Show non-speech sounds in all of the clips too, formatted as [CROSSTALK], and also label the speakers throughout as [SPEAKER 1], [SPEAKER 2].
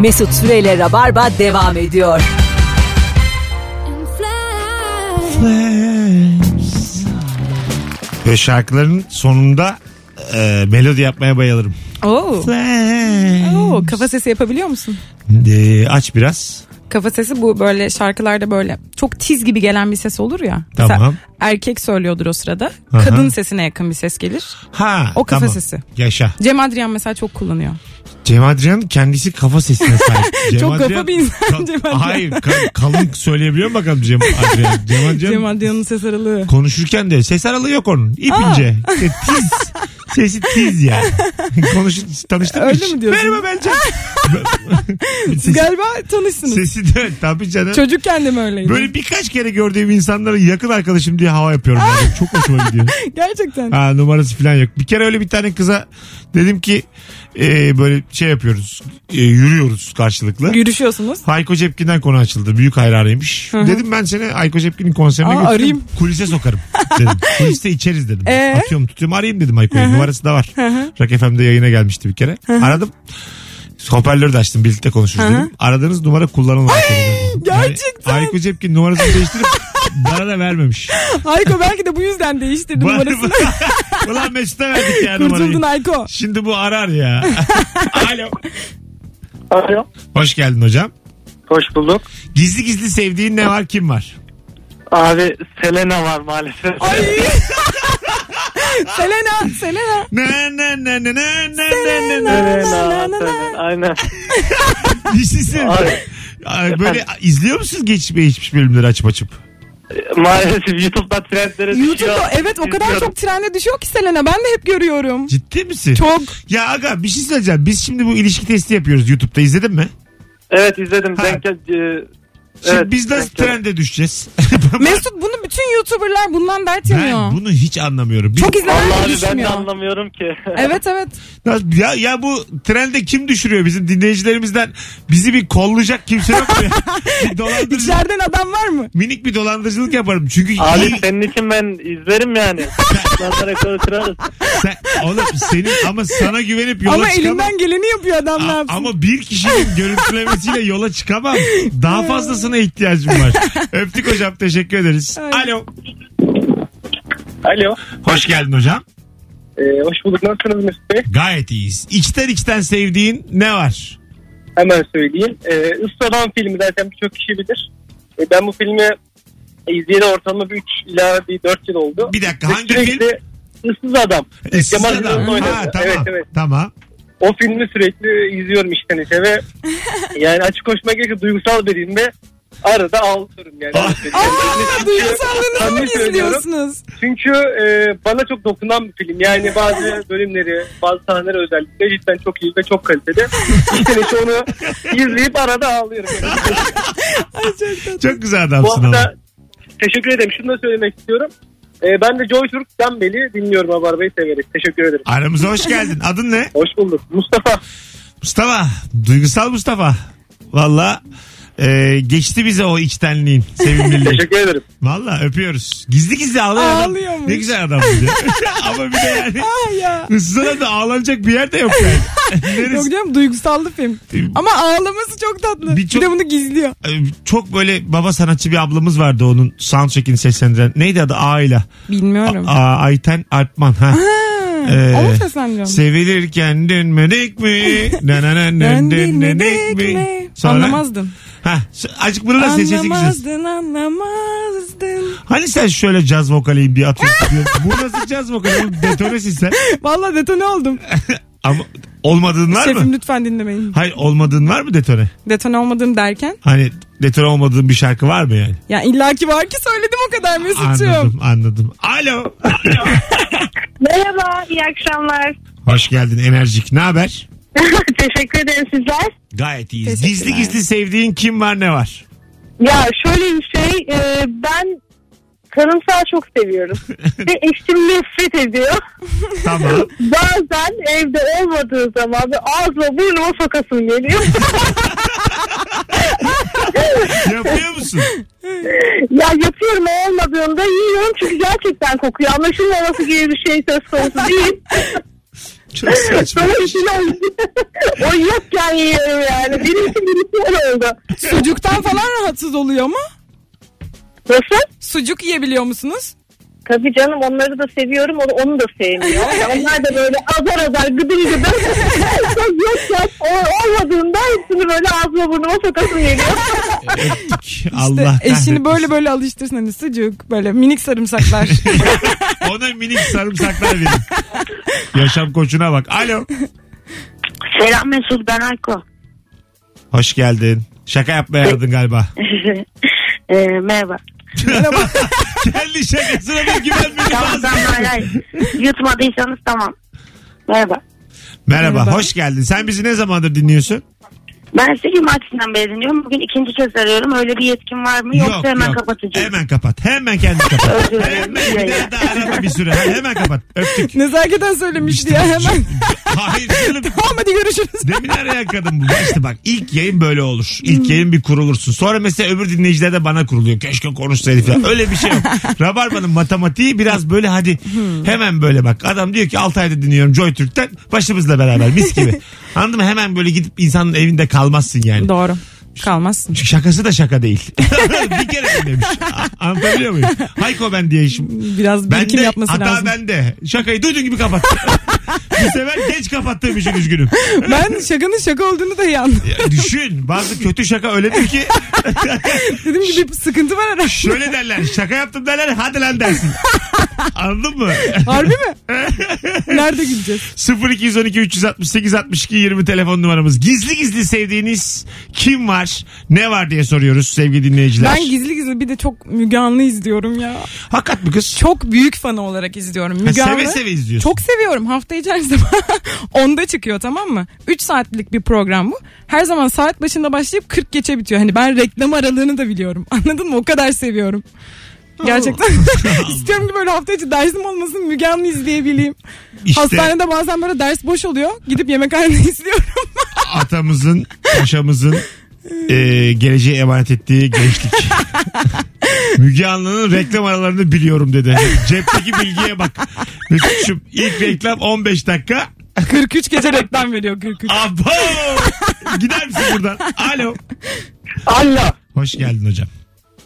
[SPEAKER 1] Mesut Süreyle Rabarba devam ediyor.
[SPEAKER 2] Ve şarkıların sonunda e, melodi yapmaya bayılırım.
[SPEAKER 3] Oo. Oo, kafa sesi yapabiliyor musun?
[SPEAKER 2] E, aç biraz.
[SPEAKER 3] Kafa sesi bu böyle şarkılarda böyle çok tiz gibi gelen bir ses olur ya.
[SPEAKER 2] Tamam.
[SPEAKER 3] Mesela erkek söylüyordur o sırada.
[SPEAKER 2] Aha.
[SPEAKER 3] Kadın sesine yakın bir ses gelir.
[SPEAKER 2] Ha,
[SPEAKER 3] O kafa
[SPEAKER 2] tamam.
[SPEAKER 3] sesi.
[SPEAKER 2] Yaşa.
[SPEAKER 3] Cem Adrian mesela çok kullanıyor.
[SPEAKER 2] Cem Adrian kendisi kafa sesine sahip. Cem
[SPEAKER 3] [LAUGHS] Çok kafa
[SPEAKER 2] Adrian-
[SPEAKER 3] bir insan
[SPEAKER 2] Ka-
[SPEAKER 3] Cem Adrian.
[SPEAKER 2] Hayır ka- kalın söyleyebiliyor mu bakalım Cem
[SPEAKER 3] [LAUGHS]
[SPEAKER 2] Adrian? Cem Adrian,
[SPEAKER 3] Cem Adrian'ın
[SPEAKER 2] [LAUGHS]
[SPEAKER 3] ses aralığı.
[SPEAKER 2] konuşurken de ses aralığı yok onun. İp ince. E, tiz. Sesi tiz
[SPEAKER 3] [LAUGHS]
[SPEAKER 2] yani. Konuş, tanıştık mı
[SPEAKER 3] Öyle
[SPEAKER 2] hiç?
[SPEAKER 3] mi diyorsun?
[SPEAKER 2] Merhaba
[SPEAKER 3] [LAUGHS]
[SPEAKER 2] ben Cem.
[SPEAKER 3] Siz Galiba tanışsınız.
[SPEAKER 2] Sesi de tabii canım.
[SPEAKER 3] Çocukken de mi öyleydi?
[SPEAKER 2] Böyle birkaç kere gördüğüm insanlara yakın arkadaşım diye hava yapıyorum. bazen. Çok hoşuma gidiyor.
[SPEAKER 3] Gerçekten.
[SPEAKER 2] Ha, numarası falan yok. Bir kere öyle bir tane kıza dedim ki e, böyle şey yapıyoruz. e, yürüyoruz karşılıklı.
[SPEAKER 3] Yürüşüyorsunuz.
[SPEAKER 2] Hayko Cepkin'den konu açıldı. Büyük hayranıymış. Dedim ben seni Hayko Cepkin'in konserine
[SPEAKER 3] Aa,
[SPEAKER 2] götüreyim.
[SPEAKER 3] arayayım.
[SPEAKER 2] Kulise
[SPEAKER 3] [LAUGHS]
[SPEAKER 2] sokarım dedim. Kuliste içeriz dedim.
[SPEAKER 3] Ee?
[SPEAKER 2] Atıyorum tutuyorum arayayım dedim Hayko'yu. Numarası da var. Rock FM'de yayına gelmişti bir kere. Aradım. Hoparlörü de açtım birlikte konuşuruz dedim. Aradığınız numara kullanılmadı. dedim.
[SPEAKER 3] gerçekten.
[SPEAKER 2] Yani Hayko Cepkin numarasını
[SPEAKER 3] [LAUGHS]
[SPEAKER 2] değiştirip bana da vermemiş.
[SPEAKER 3] Ayko belki de bu yüzden değiştirdi numarasını.
[SPEAKER 2] [LAUGHS] Ulan Mesut'a verdik ya numarayı. [LAUGHS]
[SPEAKER 3] Kurtuldun Ayko.
[SPEAKER 2] Şimdi bu arar ya. [LAUGHS] Alo.
[SPEAKER 4] Alo.
[SPEAKER 2] Hoş geldin hocam.
[SPEAKER 4] Hoş bulduk.
[SPEAKER 2] Gizli gizli sevdiğin ne var kim var?
[SPEAKER 4] Abi Selena var maalesef.
[SPEAKER 3] Ay. Selena, Selena.
[SPEAKER 2] Na na na na na na na na.
[SPEAKER 3] Na, na, na,
[SPEAKER 4] Selena.
[SPEAKER 3] na.
[SPEAKER 4] Selena. Aynen. [LAUGHS]
[SPEAKER 2] Bir şey söyleyeyim. Ay, böyle izliyor musunuz geçmiş geçmiş bölümleri açıp açıp?
[SPEAKER 4] Maalesef YouTube'da trendlere düşüyor.
[SPEAKER 3] YouTube'da evet o kadar çok trende düşüyor ki Selena. Ben de hep görüyorum.
[SPEAKER 2] Ciddi misin?
[SPEAKER 3] Çok.
[SPEAKER 2] Ya aga bir şey söyleyeceğim. Biz şimdi bu ilişki testi yapıyoruz YouTube'da izledin mi?
[SPEAKER 4] Evet izledim.
[SPEAKER 2] Ha.
[SPEAKER 4] Denk, gel- e,
[SPEAKER 2] Şimdi
[SPEAKER 4] evet,
[SPEAKER 2] biz nasıl
[SPEAKER 4] denk gel-
[SPEAKER 2] trende
[SPEAKER 3] [LAUGHS]
[SPEAKER 2] düşeceğiz?
[SPEAKER 3] Mesut bunu bütün YouTuber'lar bundan dert yanıyor.
[SPEAKER 2] ben bunu hiç anlamıyorum. Bir-
[SPEAKER 3] Çok
[SPEAKER 4] Vallahi
[SPEAKER 3] izlenen de
[SPEAKER 4] abi ben de
[SPEAKER 3] düşmüyor.
[SPEAKER 4] anlamıyorum ki.
[SPEAKER 3] Evet evet.
[SPEAKER 2] ya, ya bu trende kim düşürüyor bizim dinleyicilerimizden? Bizi bir kollayacak kimse yok mu?
[SPEAKER 3] [LAUGHS]
[SPEAKER 2] ya? bir dolandırıcı,
[SPEAKER 3] İçeriden adam var mı?
[SPEAKER 2] minik bir dolandırıcılık yaparım. Çünkü
[SPEAKER 4] Abi
[SPEAKER 2] iyi-
[SPEAKER 4] senin için ben
[SPEAKER 3] [LAUGHS]
[SPEAKER 4] izlerim yani. Nazar rekoru kırarız.
[SPEAKER 2] sen, oğlum senin ama sana güvenip yola
[SPEAKER 3] Ama
[SPEAKER 2] çıkamam.
[SPEAKER 3] elinden geleni yapıyor adam ne
[SPEAKER 2] A-
[SPEAKER 3] yapsın?
[SPEAKER 2] ama bir kişinin görüntülemesiyle yola çıkamam. Daha fazlasına ihtiyacım var. Öptük hocam teşekkür ederiz.
[SPEAKER 3] Ay.
[SPEAKER 2] Alo.
[SPEAKER 5] Alo.
[SPEAKER 2] Hoş geldin hocam.
[SPEAKER 5] Ee, hoş bulduk. Nasılsınız Mesut Bey?
[SPEAKER 2] Gayet iyiyiz. İçten içten sevdiğin ne var?
[SPEAKER 5] Hemen söyleyeyim. Ee, Isparan filmi zaten birçok kişi bilir. Ee, ben bu filmi izleyeli ortalama bir 3 ila bir 4 yıl oldu.
[SPEAKER 2] Bir dakika,
[SPEAKER 5] Ve
[SPEAKER 2] hangi E,
[SPEAKER 5] sürekli Issız Adam.
[SPEAKER 2] Issız
[SPEAKER 5] Cemal
[SPEAKER 2] Adam.
[SPEAKER 5] Yılmaz'ın oynadı.
[SPEAKER 2] Ha, tamam.
[SPEAKER 5] Evet evet.
[SPEAKER 2] Tamam.
[SPEAKER 5] O filmi sürekli izliyorum içten içe ve yani açık konuşmak gerekirse duygusal biriyim ve arada ağlıyorum yani.
[SPEAKER 2] Ah.
[SPEAKER 3] Aa, duygusallığınızı mı
[SPEAKER 5] Samimi söylüyorum.
[SPEAKER 3] izliyorsunuz?
[SPEAKER 5] [LAUGHS] Çünkü e, bana çok dokunan bir film. Yani bazı bölümleri, bazı sahneleri özellikle cidden çok iyi ve çok kaliteli. İçten içe onu izleyip arada ağlıyorum.
[SPEAKER 2] [LAUGHS]
[SPEAKER 5] Yani.
[SPEAKER 2] Çok güzel
[SPEAKER 5] Bu
[SPEAKER 2] adamsın
[SPEAKER 5] arada
[SPEAKER 2] ama.
[SPEAKER 5] teşekkür ederim. Şunu da söylemek istiyorum. Ee, ben de Joy Türk'ten beri dinliyorum Abar Bey'i severek. Teşekkür ederim.
[SPEAKER 2] Aramıza hoş geldin. Adın ne?
[SPEAKER 5] Hoş bulduk. [LAUGHS] Mustafa.
[SPEAKER 2] Mustafa. Duygusal Mustafa. Valla e, geçti bize o içtenliğin, sevimliliğin.
[SPEAKER 5] Teşekkür ederim.
[SPEAKER 2] Valla öpüyoruz. Gizli gizli ağlıyor adam.
[SPEAKER 3] Ağlıyormuş.
[SPEAKER 2] Ne güzel adam bu diyor. [LAUGHS] Ama bir de yani
[SPEAKER 3] Aa ya.
[SPEAKER 2] ıssız da ağlanacak bir yer de yok yani. Neresi?
[SPEAKER 3] [LAUGHS] Yok canım duygusallı film. Ama ağlaması çok tatlı.
[SPEAKER 2] Birçok-
[SPEAKER 3] Bir de bunu gizliyor.
[SPEAKER 2] Ee, çok böyle baba sanatçı bir ablamız vardı onun soundcheck'ini seslendiren. Neydi adı? Ayla.
[SPEAKER 3] Bilmiyorum.
[SPEAKER 2] A- Ayten Alpman. Ha. Ee,
[SPEAKER 3] o mu sesleniyor?
[SPEAKER 2] Sevilirken dönmedik
[SPEAKER 3] [LAUGHS]
[SPEAKER 2] mi? Nanana dönmedik mi? Sonra-
[SPEAKER 3] Anlamazdın.
[SPEAKER 2] Ha, s- azıcık bunu da sesesi güzel. [LAUGHS]
[SPEAKER 3] Anlamazdın anlamazdın.
[SPEAKER 2] Hani sen şöyle caz vokaliyim diye atıyorsun. diyor. Bu nasıl caz vokali? Oğlum Detonesin sen.
[SPEAKER 3] Valla detone oldum.
[SPEAKER 2] Ama olmadığın var
[SPEAKER 3] Şefim
[SPEAKER 2] mı?
[SPEAKER 3] lütfen dinlemeyin.
[SPEAKER 2] Hayır olmadığın var mı detone?
[SPEAKER 3] Detone olmadın derken.
[SPEAKER 2] Hani detone olmadığın bir şarkı var mı yani?
[SPEAKER 3] Ya illaki var ki söyledim o kadar Mesut'cum.
[SPEAKER 2] Anladım anladım. Alo.
[SPEAKER 6] Merhaba, iyi akşamlar. [LAUGHS]
[SPEAKER 2] Hoş geldin enerjik. Ne haber?
[SPEAKER 6] Teşekkür ederim sizler.
[SPEAKER 2] Gayet iyiyiz.
[SPEAKER 3] Teşekkürler.
[SPEAKER 2] Gizli gizli sevdiğin kim var ne var?
[SPEAKER 6] Ya şöyle bir şey, e, ben kanımsal çok seviyorum. Ve eşim nefret ediyor. [LAUGHS]
[SPEAKER 3] [LAUGHS]
[SPEAKER 2] Tamam.
[SPEAKER 6] Bazen evde olmadığı zaman ve ağzıma burnuma sokasım geliyor.
[SPEAKER 2] Yapıyor musun?
[SPEAKER 6] ya yapıyorum o olmadığında yiyorum çünkü gerçekten kokuyor. Anlaşılmaması gibi bir şey söz konusu değil.
[SPEAKER 2] Çok saçma.
[SPEAKER 6] Sonra işine [LAUGHS] O yokken yiyorum yani. Benim için birisi öyle oldu.
[SPEAKER 3] Sucuktan falan rahatsız oluyor mu?
[SPEAKER 6] Nasıl?
[SPEAKER 3] Sucuk yiyebiliyor musunuz?
[SPEAKER 6] Tabii canım onları da seviyorum o da- onu da
[SPEAKER 5] [LAUGHS]
[SPEAKER 6] sevmiyor. Yani onlar da böyle azar azar gıdır gıdır. yok yok o olmadığında hepsini böyle ağzıma burnuma sokasım geliyor.
[SPEAKER 2] Allah
[SPEAKER 3] İşte eşini
[SPEAKER 2] kahretmesin.
[SPEAKER 3] böyle böyle alıştırsın hani sucuk böyle
[SPEAKER 2] [LAUGHS]
[SPEAKER 3] minik sarımsaklar.
[SPEAKER 2] Ona minik sarımsaklar verin. Yaşam koçuna bak. Alo.
[SPEAKER 7] Selam Mesut ben Ayko. [LAUGHS]
[SPEAKER 2] Hoş geldin. Şaka yapmaya aradın
[SPEAKER 3] [LAUGHS]
[SPEAKER 2] galiba.
[SPEAKER 7] Ee, merhaba.
[SPEAKER 2] Kendi şakasına bir güvenmedi
[SPEAKER 7] Tamam
[SPEAKER 2] bazen.
[SPEAKER 7] tamam hayır, hayır. Yutmadıysanız tamam. Merhaba.
[SPEAKER 2] Merhaba,
[SPEAKER 3] Merhaba.
[SPEAKER 2] hoş geldin. Sen bizi ne zamandır dinliyorsun?
[SPEAKER 7] Ben sizi cumartesinden beri dinliyorum. Bugün ikinci kez arıyorum. Öyle bir yetkim var mı yoksa hemen kapatacağım.
[SPEAKER 2] Hemen kapat. Hemen kendini kapat.
[SPEAKER 7] Özür dilerim.
[SPEAKER 2] hemen bir daha da arama bir süre. Ha, Hemen kapat. Öptük.
[SPEAKER 3] Nezaketen söylemiş diye hemen.
[SPEAKER 2] Hayır canım.
[SPEAKER 3] tamam hadi görüşürüz.
[SPEAKER 2] Demin arayan kadın bu. İşte bak ilk yayın böyle olur. İlk yayın bir kurulursun. Sonra mesela öbür dinleyiciler de bana kuruluyor. Keşke konuşsaydı falan. Öyle bir şey yok. Rabarba'nın matematiği biraz böyle hadi hemen böyle bak. Adam diyor ki 6 ayda dinliyorum Joy Türk'ten başımızla beraber mis gibi. Anladın mı? Hemen böyle gidip insanın evinde kalmazsın yani.
[SPEAKER 3] Doğru. Kalmazsın.
[SPEAKER 2] Çünkü şakası da şaka değil. [LAUGHS] bir kere dinlemiş. A- Anlatabiliyor muyum? Hayko ben diye işim.
[SPEAKER 3] Biraz
[SPEAKER 2] Ben
[SPEAKER 3] birikim
[SPEAKER 2] de,
[SPEAKER 3] yapması
[SPEAKER 2] hata
[SPEAKER 3] lazım.
[SPEAKER 2] bende. Şakayı duyduğun gibi kapat. [LAUGHS] Bu sefer geç kapattığım için üzgünüm.
[SPEAKER 3] [LAUGHS] Ben şakanın şaka olduğunu da iyi anladım.
[SPEAKER 2] Ya Düşün bazı kötü şaka öyledir ki
[SPEAKER 3] Dedim ki bir sıkıntı var herhalde.
[SPEAKER 2] şöyle derler şaka yaptım derler hadi lan dersin. Anladın mı? [LAUGHS]
[SPEAKER 3] Harbi mi? Nerede gideceğiz?
[SPEAKER 2] 0212 368 62 20 telefon numaramız. Gizli gizli sevdiğiniz kim var ne var diye soruyoruz sevgili dinleyiciler.
[SPEAKER 3] Ben gizli gizli bir de çok Müge Anlı izliyorum ya.
[SPEAKER 2] Hakikat mi kız?
[SPEAKER 3] Çok büyük fanı olarak izliyorum Müge
[SPEAKER 2] Ha,
[SPEAKER 3] Anlı.
[SPEAKER 2] seve seve izliyorsun.
[SPEAKER 3] Çok seviyorum. Hafta [LAUGHS] içerisinde onda çıkıyor tamam mı? 3 saatlik bir program bu. Her zaman saat başında başlayıp 40 geçe bitiyor. Hani ben reklam aralığını da biliyorum. [LAUGHS] Anladın mı? O kadar seviyorum.
[SPEAKER 2] [LAUGHS]
[SPEAKER 3] Gerçekten [LAUGHS] istiyorum ki böyle hafta içi dersim olmasın Müge Anlı izleyebileyim.
[SPEAKER 2] İşte-
[SPEAKER 3] Hastanede bazen böyle ders boş oluyor. Gidip yemekhanede [LAUGHS] izliyorum.
[SPEAKER 2] atamızın, paşamızın e, geleceğe emanet ettiği gençlik. Müge Anlı'nın reklam aralarını biliyorum dedi. Cepteki bilgiye bak. Mesut'cum ilk reklam 15 dakika.
[SPEAKER 3] 43 gece reklam veriyor 43.
[SPEAKER 2] Abo! Gider misin buradan? Alo.
[SPEAKER 5] Allah.
[SPEAKER 2] Hoş geldin hocam.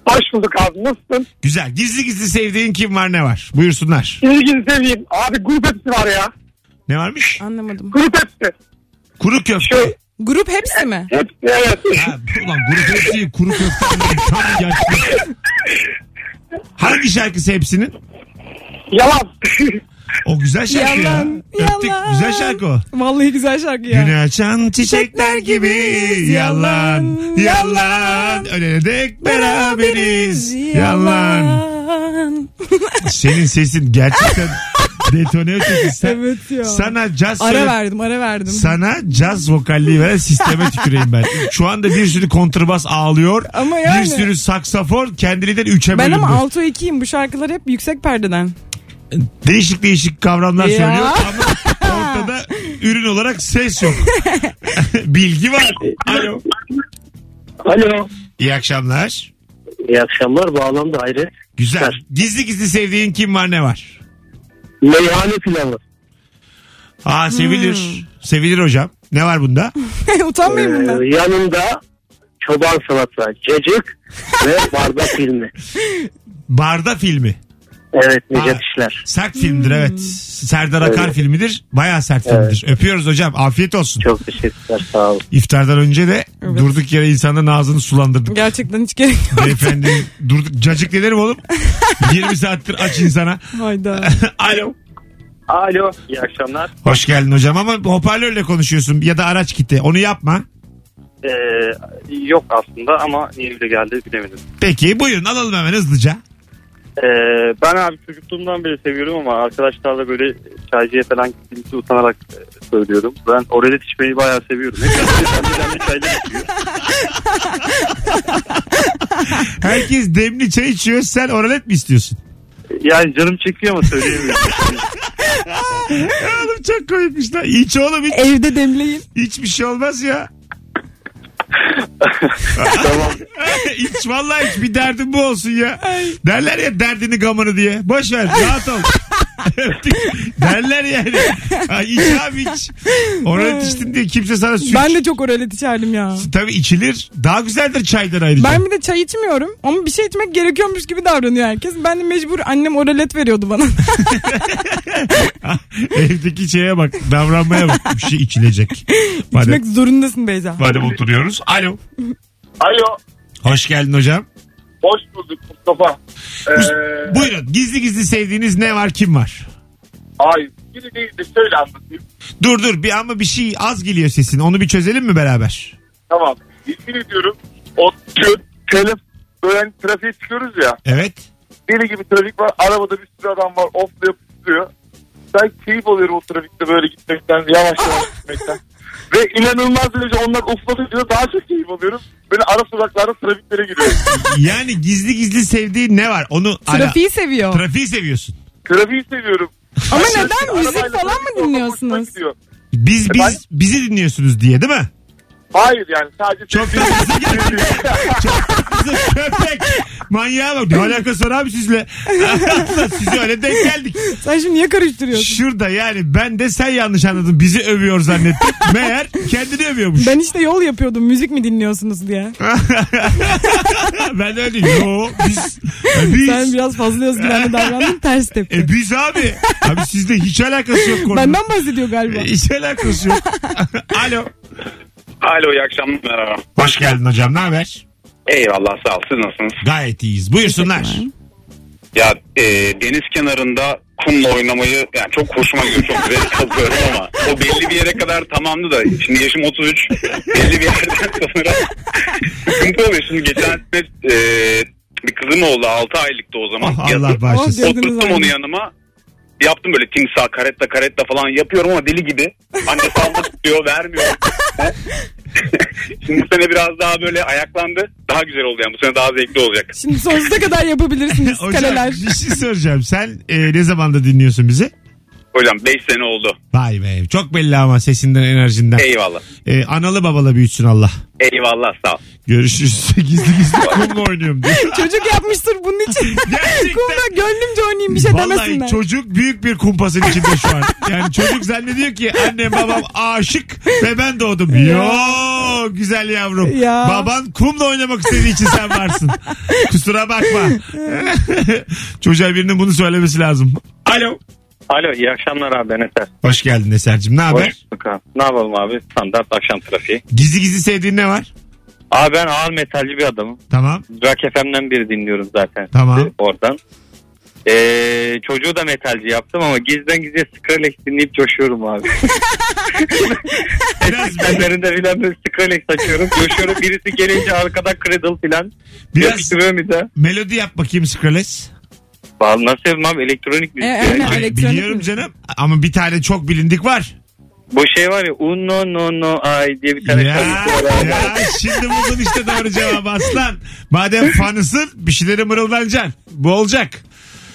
[SPEAKER 5] Hoş bulduk abi. Nasılsın?
[SPEAKER 2] Güzel. Gizli gizli sevdiğin kim var ne var? Buyursunlar.
[SPEAKER 5] İlgini seveyim. Abi grup hepsi var ya.
[SPEAKER 2] Ne varmış?
[SPEAKER 3] Anlamadım.
[SPEAKER 5] Grup hepsi.
[SPEAKER 2] Kuru köfte.
[SPEAKER 3] Grup hepsi mi?
[SPEAKER 5] Hepsi evet.
[SPEAKER 2] Ha, ulan kuru köfte değil, kuru köfte. Tam yaşlı. Hangi şarkısı hepsinin?
[SPEAKER 5] Yalan. [LAUGHS]
[SPEAKER 2] O güzel şarkı
[SPEAKER 3] Yalan,
[SPEAKER 2] ya. Öptük.
[SPEAKER 3] yalan.
[SPEAKER 2] Güzel şarkı o.
[SPEAKER 3] Vallahi güzel şarkı ya.
[SPEAKER 2] Güne açan çiçekler gibiyiz yalan yalan ölene dek beraberiz yalan senin sesin
[SPEAKER 3] [LAUGHS]
[SPEAKER 2] gerçekten detone ötesi sen,
[SPEAKER 3] evet ya.
[SPEAKER 2] sana caz
[SPEAKER 3] Ara
[SPEAKER 2] söyle-
[SPEAKER 3] verdim ara verdim.
[SPEAKER 2] sana caz vokalliği veren sisteme tüküreyim ben şu anda bir sürü kontrbas ağlıyor
[SPEAKER 3] Ama yani-
[SPEAKER 2] bir sürü saksafon kendiliğinden üçe
[SPEAKER 3] ben
[SPEAKER 2] bölündü
[SPEAKER 3] ama alto 2'yim bu şarkılar hep yüksek perdeden. [LAUGHS]
[SPEAKER 2] değişik değişik kavramlar
[SPEAKER 3] Ya.
[SPEAKER 2] söylüyor ama ortada ürün olarak ses yok [LAUGHS] bilgi var alo
[SPEAKER 4] Alo.
[SPEAKER 2] İyi akşamlar.
[SPEAKER 4] İyi akşamlar bağlandı ayrı.
[SPEAKER 2] Güzel. Gizli gizli sevdiğin kim var ne var?
[SPEAKER 4] Meyhane pilavı.
[SPEAKER 2] Aa sevilir.
[SPEAKER 3] Hmm.
[SPEAKER 2] Sevilir hocam. Ne var bunda?
[SPEAKER 3] Utanmayın bundan.
[SPEAKER 4] Ee, yanında çoban salata, cacık ve bardak filmi.
[SPEAKER 2] Barda filmi.
[SPEAKER 4] Evet Necdet
[SPEAKER 2] Aa.
[SPEAKER 4] İşler.
[SPEAKER 2] Sert
[SPEAKER 3] Hmm.
[SPEAKER 2] filmdir evet. Serdar Akar
[SPEAKER 4] Evet.
[SPEAKER 2] filmidir. Bayağı sert filmdir. Öpüyoruz hocam. Afiyet olsun.
[SPEAKER 4] Çok teşekkürler sağ olun.
[SPEAKER 2] İftardan önce de
[SPEAKER 3] Evet.
[SPEAKER 2] durduk yere insanların ağzını
[SPEAKER 3] [LAUGHS]
[SPEAKER 2] sulandırdık.
[SPEAKER 3] Gerçekten hiç gerek
[SPEAKER 2] [LAUGHS]
[SPEAKER 3] yok.
[SPEAKER 2] Beyefendi durduk. Cacık ne derim
[SPEAKER 3] [LAUGHS]
[SPEAKER 2] oğlum? 20 saattir aç insana.
[SPEAKER 3] Hayda.
[SPEAKER 2] Alo.
[SPEAKER 5] Alo. İyi akşamlar.
[SPEAKER 2] Hoş geldin hocam ama hoparlörle konuşuyorsun ya da araç gitti. Onu yapma.
[SPEAKER 8] Ee, yok aslında ama niye öyle geldi bilemedim.
[SPEAKER 2] Peki buyurun alalım hemen hızlıca.
[SPEAKER 8] Ee, ben abi çocukluğumdan beri seviyorum ama arkadaşlarla böyle çaycıya falan gittiğimizde utanarak e, söylüyorum. Ben oralet içmeyi bayağı seviyorum. Hep kendimden [LAUGHS] bir çaylar içiyor.
[SPEAKER 2] Herkes demli çay içiyor. Sen oralet mi istiyorsun?
[SPEAKER 8] Yani canım çekiyor ama söyleyemiyorum.
[SPEAKER 2] Oğlum çok koymuş lan. İç oğlum hiç,
[SPEAKER 3] Evde demleyin.
[SPEAKER 2] hiçbir şey olmaz ya. [LAUGHS]
[SPEAKER 8] tamam.
[SPEAKER 2] hiç vallahi hiç bir derdin bu olsun ya. Derler ya derdini gamını diye. Boş ver rahat ol. [LAUGHS] Öptük. Derler yani. Ha, iç abi iç. Oraya içtin diye kimse sana süt.
[SPEAKER 3] Ben de çok oralet içerdim ya.
[SPEAKER 2] Tabii içilir. Daha güzeldir çaydan ayrıca.
[SPEAKER 3] Ben bir de çay içmiyorum ama bir şey içmek gerekiyormuş gibi davranıyor herkes. Ben de mecbur annem oralet veriyordu bana.
[SPEAKER 2] [LAUGHS]
[SPEAKER 3] [LAUGHS]
[SPEAKER 2] Evdeki şeye bak. Davranmaya bak. Bir şey içilecek.
[SPEAKER 3] [LAUGHS] İçmek
[SPEAKER 2] Madem,
[SPEAKER 3] zorundasın Beyza.
[SPEAKER 2] madem oturuyoruz. Alo.
[SPEAKER 5] Alo.
[SPEAKER 2] Hoş geldin hocam.
[SPEAKER 5] Hoş bulduk Mustafa. Ee,
[SPEAKER 2] Buyurun. Gizli gizli sevdiğiniz ne var kim var?
[SPEAKER 5] ay biri değil de şöyle anlatayım.
[SPEAKER 2] Dur dur bir ama bir şey az geliyor sesin. Onu bir çözelim mi beraber?
[SPEAKER 5] Tamam. Yemin ediyorum o tö- telef böyle hani trafiğe çıkıyoruz ya.
[SPEAKER 2] Evet.
[SPEAKER 5] Deli gibi trafik var. Arabada bir sürü adam var. Ofluyor püslüyor. Ben keyif alıyorum o trafikte böyle gitmekten. Yavaş yavaş gitmekten. Ve inanılmaz derece onlar ofladıkça daha çok keyif alıyorum. Böyle ara sokaklarda trafiklere giriyorum.
[SPEAKER 2] Yani gizli gizli sevdiğin ne var? Onu
[SPEAKER 3] Trafiği seviyor.
[SPEAKER 2] Ala, trafiği seviyorsun.
[SPEAKER 5] Trafiği seviyorum.
[SPEAKER 3] Ama
[SPEAKER 5] Arabayla
[SPEAKER 3] neden? Müzik
[SPEAKER 5] trafikte
[SPEAKER 3] falan mı
[SPEAKER 5] olmak hoşuma
[SPEAKER 3] dinliyorsunuz?
[SPEAKER 5] gidiyor.
[SPEAKER 2] Biz biz
[SPEAKER 5] Efendim?
[SPEAKER 2] bizi dinliyorsunuz diye değil mi?
[SPEAKER 5] Hayır yani sadece
[SPEAKER 2] Çok da hızlı geldi. Çok da hızlı köpek. Manyağa bak. Ne alakası var abi sizle? Allah, Sizi öyle denk geldik.
[SPEAKER 3] Sen şimdi niye karıştırıyorsun?
[SPEAKER 2] Şurada yani ben de sen yanlış anladın. Bizi övüyor zannettim. Meğer kendini övüyormuş.
[SPEAKER 3] Ben işte yol yapıyordum müzik mi dinliyorsunuz diye.
[SPEAKER 2] ben öyle değilim. Yo biz. e, biz.
[SPEAKER 3] Sen biraz fazla özgüvenli davrandın ters tepki.
[SPEAKER 2] E, biz abi. Abi sizle hiç alakası yok konunun.
[SPEAKER 3] Benden bahsediyor galiba.
[SPEAKER 2] E, Hiç alakası yok. Alo.
[SPEAKER 8] Alo iyi akşamlar merhaba.
[SPEAKER 2] Hoş geldin hocam. Ne haber?
[SPEAKER 8] Eyvallah sağ ol siz nasılsınız?
[SPEAKER 2] Gayet iyiyiz. Buyursunlar.
[SPEAKER 8] Ya e, deniz kenarında kumla oynamayı yani çok hoşuma gidiyor. Çok zevk alıyorum ama o belli bir yere kadar tamamdı da şimdi yaşım 33 belli bir yerden sonra sıkıntı oluyor. Şimdi geçen sene e, bir kızım oldu 6 aylıktı o zaman.
[SPEAKER 2] Oh,
[SPEAKER 8] Yazın.
[SPEAKER 2] Allah bağışlasın.
[SPEAKER 3] Gözünüz
[SPEAKER 8] Oturttum onu
[SPEAKER 3] aydın.
[SPEAKER 8] yanıma. Yaptım böyle timsah karetta karetta falan yapıyorum ama deli gibi. Anne [LAUGHS] salla tutuyor vermiyor. [LAUGHS] Şimdi bu sene biraz daha böyle ayaklandı. Daha güzel oldu yani bu sene daha zevkli olacak.
[SPEAKER 3] Şimdi sonsuza kadar
[SPEAKER 2] [LAUGHS]
[SPEAKER 3] yapabilirsiniz
[SPEAKER 2] Hocam
[SPEAKER 3] kaleler.
[SPEAKER 2] bir şey soracağım. Sen e, ne zamanda dinliyorsun bizi?
[SPEAKER 8] Hocam 5 sene oldu.
[SPEAKER 2] Vay be çok belli ama sesinden enerjinden.
[SPEAKER 8] Eyvallah.
[SPEAKER 2] E, analı babalı büyütsün Allah.
[SPEAKER 8] Eyvallah sağ ol.
[SPEAKER 2] Görüşürüz. [LAUGHS] gizli gizli kumla oynuyorum
[SPEAKER 3] [LAUGHS]
[SPEAKER 2] diye.
[SPEAKER 3] Çocuk yapmıştır bunun
[SPEAKER 2] [LAUGHS]
[SPEAKER 3] için.
[SPEAKER 2] Gerçekten.
[SPEAKER 3] Kumda gönlümce oynayayım bir şey demesinler.
[SPEAKER 2] Vallahi çocuk büyük bir kumpasın içinde şu an. Yani çocuk zannediyor ki annem babam aşık ve ben doğdum. Yo güzel yavrum.
[SPEAKER 3] Ya.
[SPEAKER 2] Baban kumla oynamak istediği için sen
[SPEAKER 3] [LAUGHS]
[SPEAKER 2] varsın. Kusura bakma. [LAUGHS] Çocuğa birinin bunu söylemesi lazım. Alo.
[SPEAKER 8] Alo iyi akşamlar abi ben Eser.
[SPEAKER 2] Hoş geldin Eser'cim. Ne haber?
[SPEAKER 8] Ne yapalım abi standart akşam trafiği.
[SPEAKER 2] Gizli gizli sevdiğin ne var?
[SPEAKER 8] Abi ben ağır metalci bir adamım.
[SPEAKER 2] Tamam.
[SPEAKER 8] Rock FM'den biri dinliyorum zaten.
[SPEAKER 2] Tamam.
[SPEAKER 8] Oradan. Ee, çocuğu da metalci yaptım ama gizden gizliye Skrillex dinleyip coşuyorum abi. [LAUGHS]
[SPEAKER 2] Biraz,
[SPEAKER 8] Kendilerinde filan böyle Skrillex açıyorum. Coşuyorum. Birisi gelince arkadan Cradle filan.
[SPEAKER 2] biraz
[SPEAKER 8] Yapıştırıyorum bir de.
[SPEAKER 2] melodi yap bakayım Skrillex.
[SPEAKER 8] Vallahi nasıl yapayım abi elektronik şey. müzik.
[SPEAKER 3] E,
[SPEAKER 8] yani.
[SPEAKER 3] aynen.
[SPEAKER 2] Ay,
[SPEAKER 3] Elektronik
[SPEAKER 2] Biliyorum
[SPEAKER 3] mi?
[SPEAKER 2] canım ama bir tane çok bilindik var.
[SPEAKER 8] Bu şey var ya Uno no no ay diye bir
[SPEAKER 2] Ya,
[SPEAKER 8] tane şey. şarkısı var abi.
[SPEAKER 2] ya şimdi buldun işte doğru cevabı aslan. Madem fanısın bir şeyleri mırıldanacaksın. Bu olacak. [LAUGHS]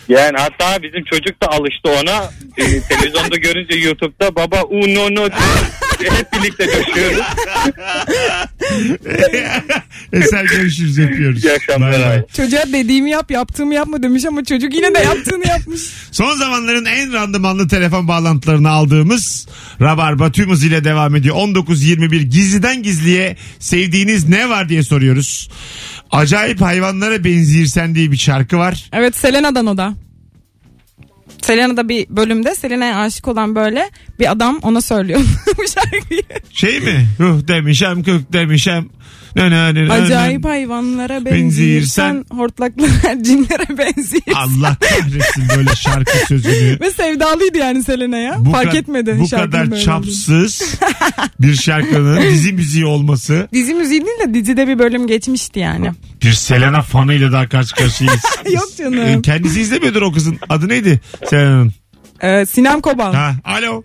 [SPEAKER 8] Yani hatta bizim çocuk da alıştı ona.
[SPEAKER 3] [LAUGHS]
[SPEAKER 8] Ee, televizyonda görünce YouTube'da baba Uno no
[SPEAKER 3] [LAUGHS]
[SPEAKER 8] diye hep birlikte coşuyoruz.
[SPEAKER 2] Eser E, görüşürüz yapıyoruz.
[SPEAKER 8] İyi akşamlar
[SPEAKER 2] Bay bay.
[SPEAKER 8] abi.
[SPEAKER 3] Çocuğa dediğimi yap yaptığımı yapma demiş ama çocuk yine de
[SPEAKER 2] [LAUGHS]
[SPEAKER 3] yaptığını yapmış.
[SPEAKER 2] Son zamanların en randımanlı telefon bağlantılarını aldığımız Rabarba tüm hızıyla devam ediyor. 19.21 gizliden gizliye sevdiğiniz ne var diye soruyoruz. Acayip hayvanlara benzirsen diye bir şarkı var.
[SPEAKER 3] Evet Selena'dan o da. Selena'da bir bölümde Selena'ya aşık olan böyle bir adam ona söylüyor [LAUGHS] bu şarkıyı.
[SPEAKER 2] Şey mi? Ruh demişem kök demişem. Nö, nö, nö, nö, nö.
[SPEAKER 3] Acayip hayvanlara benziyirsen hortlaklara [LAUGHS] cinlere benziyirsin.
[SPEAKER 2] Allah kahretsin böyle şarkı sözünü.
[SPEAKER 3] Ve sevdalıydı yani Selena'ya. Fark
[SPEAKER 2] kad-
[SPEAKER 3] etmedi.
[SPEAKER 2] Bu
[SPEAKER 3] şarkının
[SPEAKER 2] kadar
[SPEAKER 3] böyle olduğunu.
[SPEAKER 2] çapsız bir şarkının dizi müziği olması.
[SPEAKER 3] Dizi müziği değil de dizide bir bölüm geçmişti yani.
[SPEAKER 2] Bir Selena fanıyla daha karşı karşıyayız.
[SPEAKER 3] [LAUGHS] Yok canım.
[SPEAKER 2] Ee, Kendisi izlemiyordur o kızın. Adı neydi Selena'nın?
[SPEAKER 3] Ee, Sinem Kobal.
[SPEAKER 2] Ha, alo.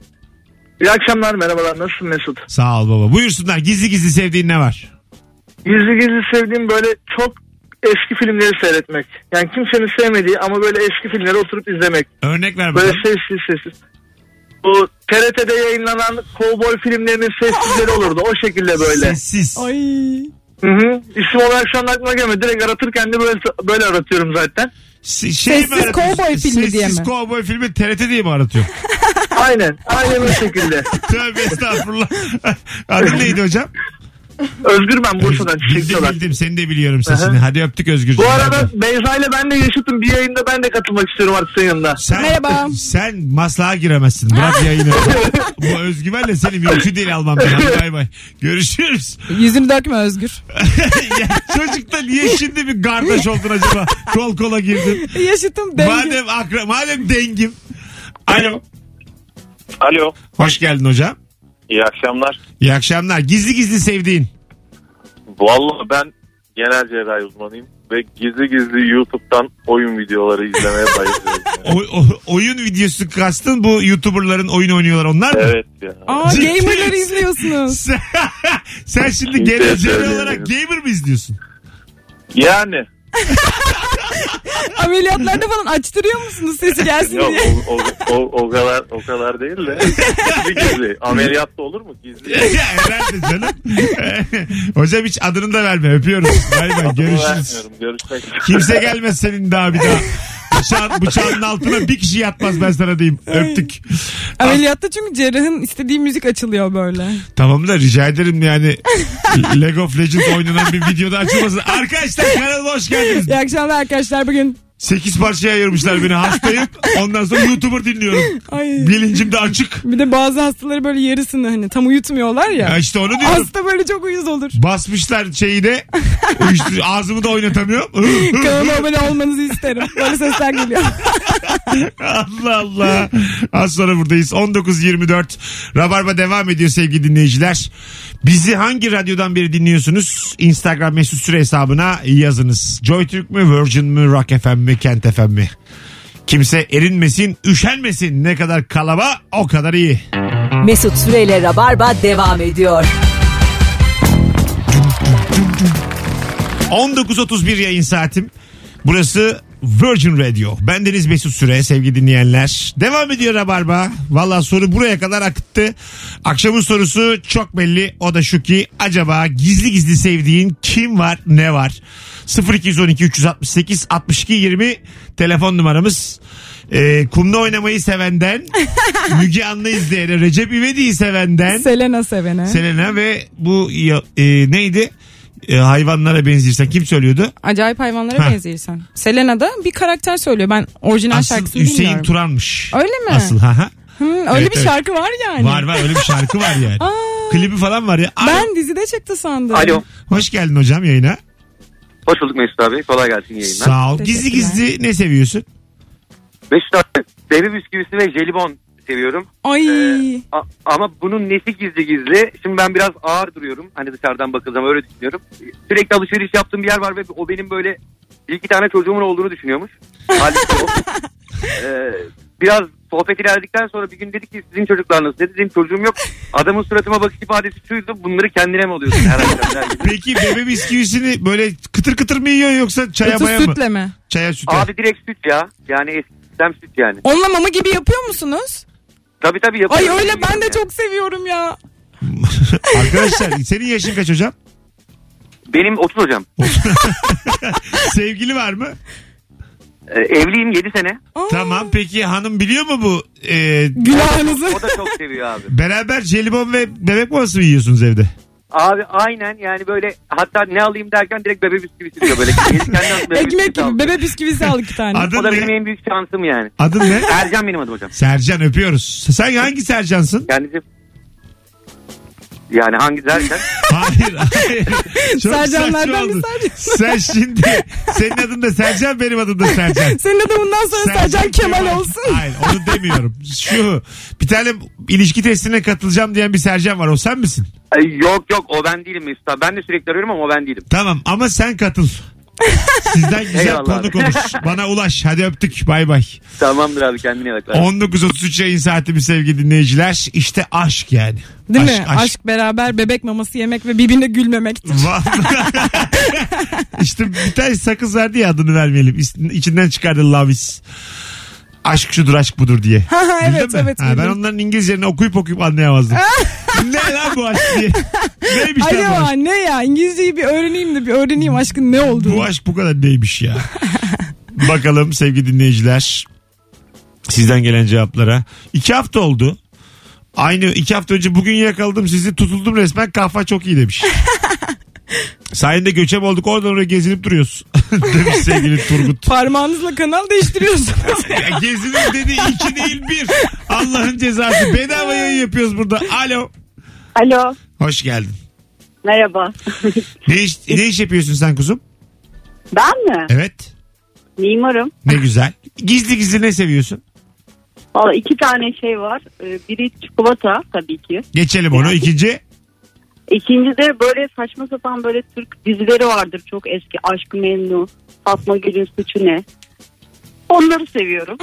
[SPEAKER 5] İyi akşamlar merhabalar nasılsın Mesut?
[SPEAKER 2] Sağ ol baba. Buyursunlar gizli gizli sevdiğin ne var?
[SPEAKER 5] Gizli gizli sevdiğim böyle çok eski filmleri seyretmek. Yani kimsenin sevmediği ama böyle eski filmleri oturup izlemek.
[SPEAKER 2] Örnek ver
[SPEAKER 5] Böyle
[SPEAKER 2] bana.
[SPEAKER 5] sessiz sessiz. Bu TRT'de yayınlanan kovboy filmlerinin sessizleri olurdu. O şekilde
[SPEAKER 4] şey
[SPEAKER 5] böyle.
[SPEAKER 2] Sessiz.
[SPEAKER 3] Ay.
[SPEAKER 5] Hı hı. İsim olarak şu an aklıma gelmedi. Direkt aratırken de böyle, böyle aratıyorum zaten.
[SPEAKER 2] Si- Şey
[SPEAKER 3] Sessiz Cowboy filmi
[SPEAKER 2] Sessiz
[SPEAKER 3] diye mi?
[SPEAKER 2] Cowboy filmi TRT diye mi
[SPEAKER 3] [LAUGHS]
[SPEAKER 2] aratıyor?
[SPEAKER 4] Aynen. Aynen o şekilde.
[SPEAKER 2] Tövbe estağfurullah. [LAUGHS] Adın neydi hocam?
[SPEAKER 4] Özgür ben Bursa'dan
[SPEAKER 2] Bildim
[SPEAKER 4] çiçekliyorlar.
[SPEAKER 2] bildim seni de biliyorum sesini.
[SPEAKER 4] Aha.
[SPEAKER 2] Hadi öptük Özgürcüğüm.
[SPEAKER 4] Bu arada Beyza ile ben de yaşıttım. Bir yayında ben de katılmak istiyorum artık senin yanına.
[SPEAKER 2] sen,
[SPEAKER 3] Merhaba.
[SPEAKER 2] Sen maslağa giremezsin. Bırak
[SPEAKER 4] [LAUGHS]
[SPEAKER 2] yayını. Bu özgüvenle seni mümkün değil almam. ben. Hadi bay bay. Görüşürüz.
[SPEAKER 3] Yüzünü dökme Özgür.
[SPEAKER 2] ya, çocukta niye şimdi bir kardeş oldun acaba? Kol kola girdin.
[SPEAKER 3] Yaşıtım dengim.
[SPEAKER 2] Madem akra, madem dengim. Alo.
[SPEAKER 5] Alo.
[SPEAKER 2] Hoş geldin hocam.
[SPEAKER 5] İyi akşamlar.
[SPEAKER 2] İyi akşamlar. Gizli gizli sevdiğin.
[SPEAKER 5] Vallahi ben genel cerrahi uzmanıyım ve gizli gizli YouTube'dan oyun videoları izlemeye bayılıyorum.
[SPEAKER 2] O, o- oyun videosu kastın bu YouTuber'ların oyun oynuyorlar onlar mı?
[SPEAKER 5] evet ya.
[SPEAKER 3] Aa
[SPEAKER 2] [LAUGHS]
[SPEAKER 3] gamerları izliyorsunuz.
[SPEAKER 2] Sen, [LAUGHS] sen şimdi
[SPEAKER 5] Kimseye
[SPEAKER 2] geleceğin
[SPEAKER 5] söyleyemiyorum.
[SPEAKER 2] olarak gamer mi izliyorsun? [LAUGHS]
[SPEAKER 5] Yani
[SPEAKER 3] Ameliyatlarda falan açtırıyor musunuz sesi gelsin
[SPEAKER 5] yok
[SPEAKER 2] [LAUGHS]
[SPEAKER 3] diye?
[SPEAKER 5] o, o, o, o kadar o kadar değil de gizli gizli. Ameliyatta olur mu gizli?
[SPEAKER 2] ya herhalde canım. [LAUGHS] Hocam hiç adını da verme. Öpüyoruz. Bay bay. Görüşürüz.
[SPEAKER 5] Vermiyorum, Görüşmek üzere.
[SPEAKER 2] Kimse gelmez senin daha bir daha. Bıçağın, bıçağın altına bir kişi yatmaz ben sana diyeyim. Öptük.
[SPEAKER 3] Ameliyatta çünkü cerrahın istediği müzik açılıyor böyle.
[SPEAKER 2] Tamam da rica ederim yani Lego Legends oynanan bir videoda açılmasın. Arkadaşlar kanalıma hoş geldiniz.
[SPEAKER 3] İyi akşamlar arkadaşlar bugün.
[SPEAKER 2] 8 parçaya ayırmışlar beni hastayım. Ondan sonra YouTuber dinliyorum.
[SPEAKER 3] Ay.
[SPEAKER 2] Bilincim de açık.
[SPEAKER 3] Bir de bazı hastaları böyle yarısını hani tam uyutmuyorlar
[SPEAKER 2] Ya
[SPEAKER 3] ya.
[SPEAKER 2] işte onu diyorum.
[SPEAKER 3] Hasta böyle çok uyuz olur.
[SPEAKER 2] Basmışlar şeyi de. Uyuştur- Ağzımı da oynatamıyorum.
[SPEAKER 3] Kanalıma abone olmanızı isterim. Böyle
[SPEAKER 2] [LAUGHS]
[SPEAKER 3] sesler geliyor.
[SPEAKER 2] Allah Allah. Az sonra buradayız. 19.24. Rabarba devam ediyor sevgili dinleyiciler. Bizi hangi radyodan beri dinliyorsunuz? Instagram mesut süre hesabına yazınız. JoyTürk mü, Virgin mi, Rock FM mi, Kent FM mi? Kimse erinmesin, üşenmesin. Ne kadar kalaba o kadar iyi.
[SPEAKER 1] Mesut Süreyle Rabarba devam ediyor.
[SPEAKER 2] 19.31 yayın saatim. Burası Virgin Radio. Ben Deniz Mesut Süre sevgili dinleyenler. Devam ediyor Rabarba. Valla soru buraya kadar akıttı. Akşamın sorusu çok belli. O da şu ki acaba gizli gizli sevdiğin kim var ne var? 0212 368 62 20 telefon numaramız. Ee, kumda oynamayı sevenden, Müge Anlı izleyene, Recep İvedik'i sevenden,
[SPEAKER 3] Selena sevene.
[SPEAKER 2] Selena ve bu ya- e, neydi? E, hayvanlara benzirsen kim söylüyordu?
[SPEAKER 3] Acayip hayvanlara
[SPEAKER 2] Ha.
[SPEAKER 3] benziyorsun. Selena da bir karakter söylüyor. Ben orijinal
[SPEAKER 2] Asıl
[SPEAKER 3] şarkısını
[SPEAKER 2] Hüseyin
[SPEAKER 3] bilmiyorum.
[SPEAKER 2] Turan'mış.
[SPEAKER 3] Öyle mi?
[SPEAKER 2] Asıl ha ha.
[SPEAKER 3] Hı, öyle
[SPEAKER 2] Evet,
[SPEAKER 3] bir
[SPEAKER 2] evet.
[SPEAKER 3] şarkı var yani.
[SPEAKER 2] Var var öyle bir şarkı var yani.
[SPEAKER 3] [LAUGHS] Aa,
[SPEAKER 2] Klibi falan var ya. Alo.
[SPEAKER 3] ben dizide çıktı sandım.
[SPEAKER 4] Alo.
[SPEAKER 2] Hoş geldin hocam yayına.
[SPEAKER 4] Hoş bulduk Mesut abi. Kolay gelsin yayınlar.
[SPEAKER 2] Sağ ol. Gizli
[SPEAKER 3] Teşekkürler.
[SPEAKER 2] gizli ne seviyorsun?
[SPEAKER 4] Mesut abi. Deve bisküvisi ve jelibon seviyorum.
[SPEAKER 3] Ay.
[SPEAKER 4] Ee, a- ama bunun nesi gizli gizli? Şimdi ben biraz ağır duruyorum. Hani dışarıdan bakıldığı zaman öyle düşünüyorum. Sürekli alışveriş yaptığım bir yer var ve o benim böyle bir iki tane çocuğumun
[SPEAKER 3] [LAUGHS]
[SPEAKER 4] olduğunu düşünüyormuş. Halbuki o. Ee, biraz sohbet ilerledikten sonra bir gün dedik ki sizin çocuklar nasıl? Ne dedim çocuğum yok. Adamın suratıma bakış ifadesi şuydu. Bunları kendine mi alıyorsun herhalde?
[SPEAKER 3] [LAUGHS]
[SPEAKER 4] der gibi.
[SPEAKER 2] Peki bebe bisküvisini böyle kıtır kıtır mı yiyorsun yoksa çaya
[SPEAKER 3] Kutu
[SPEAKER 2] maya mı?
[SPEAKER 3] sütle mi?
[SPEAKER 2] Çaya sütle.
[SPEAKER 4] Abi direkt süt ya. Yani eski sistem süt yani.
[SPEAKER 3] Onunla mama gibi yapıyor musunuz?
[SPEAKER 4] Tabii tabii
[SPEAKER 3] Ay
[SPEAKER 4] yapıyorum.
[SPEAKER 3] öyle ben de çok seviyorum ya.
[SPEAKER 2] [LAUGHS] Arkadaşlar senin yaşın kaç hocam?
[SPEAKER 4] Benim
[SPEAKER 9] [LAUGHS]
[SPEAKER 4] 30 hocam.
[SPEAKER 2] Sevgili var mı?
[SPEAKER 4] Ee, evliyim 7 sene.
[SPEAKER 3] Aa,
[SPEAKER 2] Tamam peki hanım biliyor mu bu? e,
[SPEAKER 3] Günahınızı.
[SPEAKER 4] O da çok seviyor abi.
[SPEAKER 2] beraber jelibon ve bebek maması mı yiyorsunuz evde?
[SPEAKER 4] Abi aynen yani böyle hatta ne alayım derken direkt bebe bisküvisi diyor böyle. Kendi [LAUGHS] aslında bebe
[SPEAKER 3] Ekmek
[SPEAKER 4] bisküvisi
[SPEAKER 3] gibi.
[SPEAKER 4] aldı.
[SPEAKER 3] Bebe bisküvisi al iki tane.
[SPEAKER 2] Adın
[SPEAKER 4] O da
[SPEAKER 2] ne?
[SPEAKER 4] benim en büyük şansım yani.
[SPEAKER 2] Adın ne?
[SPEAKER 4] Ercan benim adım hocam.
[SPEAKER 2] Sercan öpüyoruz. Sen hangi Sercan'sın?
[SPEAKER 4] Kendisi yani hangi [LAUGHS] derken
[SPEAKER 2] Hayır
[SPEAKER 3] [LAUGHS]
[SPEAKER 2] hayır. Çok
[SPEAKER 3] Sercanlardan
[SPEAKER 2] saçma
[SPEAKER 3] bir
[SPEAKER 2] oldu.
[SPEAKER 3] Sercan.
[SPEAKER 2] Sen şimdi senin adın da Sercan benim adım da Sercan.
[SPEAKER 3] Senin de bundan sonra [LAUGHS] Sercan Kemal olsun.
[SPEAKER 2] Hayır onu demiyorum. Şu bir tane ilişki testine katılacağım diyen bir Sercan var o sen misin?
[SPEAKER 4] Ay, yok yok o ben değilim Mesut abi. Ben de sürekli arıyorum ama o ben değilim.
[SPEAKER 2] Tamam ama sen katıl. Sizden güzel
[SPEAKER 4] Eyvallah
[SPEAKER 2] konu
[SPEAKER 4] abi.
[SPEAKER 2] konuş. Bana ulaş. Hadi öptük. Bay bay.
[SPEAKER 4] Tamamdır abi kendine iyi bak.
[SPEAKER 2] 19.33 yayın saati bir sevgili dinleyiciler. İşte aşk yani.
[SPEAKER 3] Değil mi? Aşk. beraber bebek maması yemek ve birbirine gülmemektir.
[SPEAKER 2] işte bir tane sakız verdi ya adını vermeyelim. İs- İçinden çıkardı Lavis. Aşk şudur aşk budur diye.
[SPEAKER 3] [LAUGHS] Ha, ha,
[SPEAKER 2] Bildin
[SPEAKER 3] evet,
[SPEAKER 2] mi?
[SPEAKER 3] evet,
[SPEAKER 2] Ha, ben
[SPEAKER 3] bildim.
[SPEAKER 2] onların İngilizcelerini okuyup okuyup
[SPEAKER 3] [LAUGHS]
[SPEAKER 2] anlayamazdım. ne lan bu aşk diye. Neymiş lan bu
[SPEAKER 3] Acaba
[SPEAKER 2] aşk?
[SPEAKER 3] ne ya? İngilizceyi bir öğreneyim de bir öğreneyim aşkın ne olduğunu.
[SPEAKER 2] Bu aşk bu kadar neymiş ya. Bakalım sevgili dinleyiciler. Sizden gelen cevaplara. İki hafta oldu. Aynı iki hafta önce bugün yakaladım sizi tutuldum resmen kahva çok iyi demiş. Sayende göçem olduk oradan oraya gezinip duruyoruz. [LAUGHS] demiş sevgili Turgut.
[SPEAKER 3] Parmağınızla
[SPEAKER 2] [LAUGHS]
[SPEAKER 3] kanal değiştiriyorsunuz.
[SPEAKER 2] Ya gezinip dedi iki değil bir. Allah'ın cezası. Bedava yayın yapıyoruz burada. Alo.
[SPEAKER 6] Alo.
[SPEAKER 2] Hoş geldin.
[SPEAKER 6] Merhaba.
[SPEAKER 2] Ne iş, ne iş yapıyorsun sen kuzum?
[SPEAKER 6] Ben mi?
[SPEAKER 2] Evet.
[SPEAKER 6] Mimarım.
[SPEAKER 2] Ne güzel. Gizli gizli ne seviyorsun?
[SPEAKER 6] Valla iki tane şey var. Ee, Biri çikolata tabii ki.
[SPEAKER 2] Geçelim onu. İkinci.
[SPEAKER 6] İkinci de böyle saçma sapan böyle Türk dizileri vardır çok eski. Aşk-ı Memnu, Fatma Gül'ün Suçu Ne. Onları seviyorum.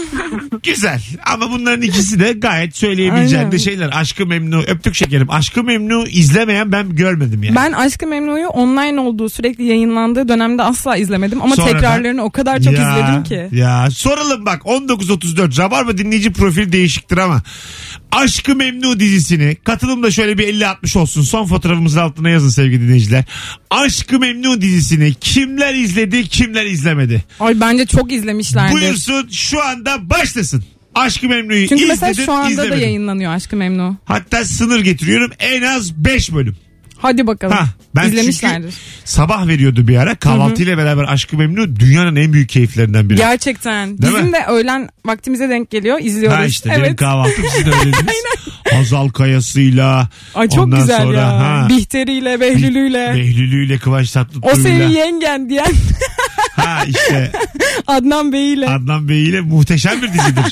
[SPEAKER 2] Güzel. Ama bunların ikisi de gayet söyleyebileceğin
[SPEAKER 3] Aynen.
[SPEAKER 2] de şeyler. Aşkı memnu. Öptük şekerim. Aşkı memnu izlemeyen ben görmedim yani.
[SPEAKER 3] Ben Aşkı Memnu'yu online olduğu sürekli yayınlandığı dönemde asla izlemedim ama
[SPEAKER 2] Sonra ben-
[SPEAKER 3] tekrarlarını o kadar çok izledim ki.
[SPEAKER 2] Ya soralım bak 1934 Rabarba dinleyici profil değişiktir ama Aşkı Memnu dizisini katılım da şöyle bir 50-60 olsun son fotoğrafımızın altına yazın sevgili dinleyiciler. Aşkı Memnu dizisini kimler izledi kimler izlemedi.
[SPEAKER 3] Ay bence çok izlemişlerdir.
[SPEAKER 2] Buyursun şu anda başlasın. Aşkı Memnu'yu
[SPEAKER 3] Çünkü
[SPEAKER 2] izledin
[SPEAKER 3] mesela şu anda da
[SPEAKER 2] izlemedin.
[SPEAKER 3] yayınlanıyor Aşkı Memnu.
[SPEAKER 2] Hatta sınır getiriyorum en az 5 bölüm.
[SPEAKER 3] Hadi bakalım.
[SPEAKER 2] Ha, ben çünkü
[SPEAKER 3] İzlemişlerdir.
[SPEAKER 2] sabah veriyordu bir ara kahvaltıyla beraber Aşkı Memnu dünyanın en büyük keyiflerinden biri.
[SPEAKER 3] Gerçekten.
[SPEAKER 2] Değil
[SPEAKER 3] Bizim
[SPEAKER 2] mi?
[SPEAKER 3] de öğlen vaktimize denk geliyor. İzliyoruz.
[SPEAKER 2] Ha işte benim
[SPEAKER 3] evet.
[SPEAKER 2] kahvaltım siz
[SPEAKER 3] [LAUGHS]
[SPEAKER 2] de öylediniz. Hazal Kayası'yla.
[SPEAKER 3] Ay çok
[SPEAKER 2] ondan
[SPEAKER 3] güzel
[SPEAKER 2] sonra,
[SPEAKER 3] ya.
[SPEAKER 2] Ha,
[SPEAKER 3] Bihteri'yle, Behlül'üyle.
[SPEAKER 2] Behlülü'yle Kıvanç
[SPEAKER 3] o senin
[SPEAKER 2] Tatlıtuğ'yla.
[SPEAKER 3] yengen diyen [LAUGHS]
[SPEAKER 2] Ha işte
[SPEAKER 3] Adnan Bey'iyle.
[SPEAKER 2] Adnan Bey'iyle muhteşem bir
[SPEAKER 3] [LAUGHS]
[SPEAKER 2] dizidir.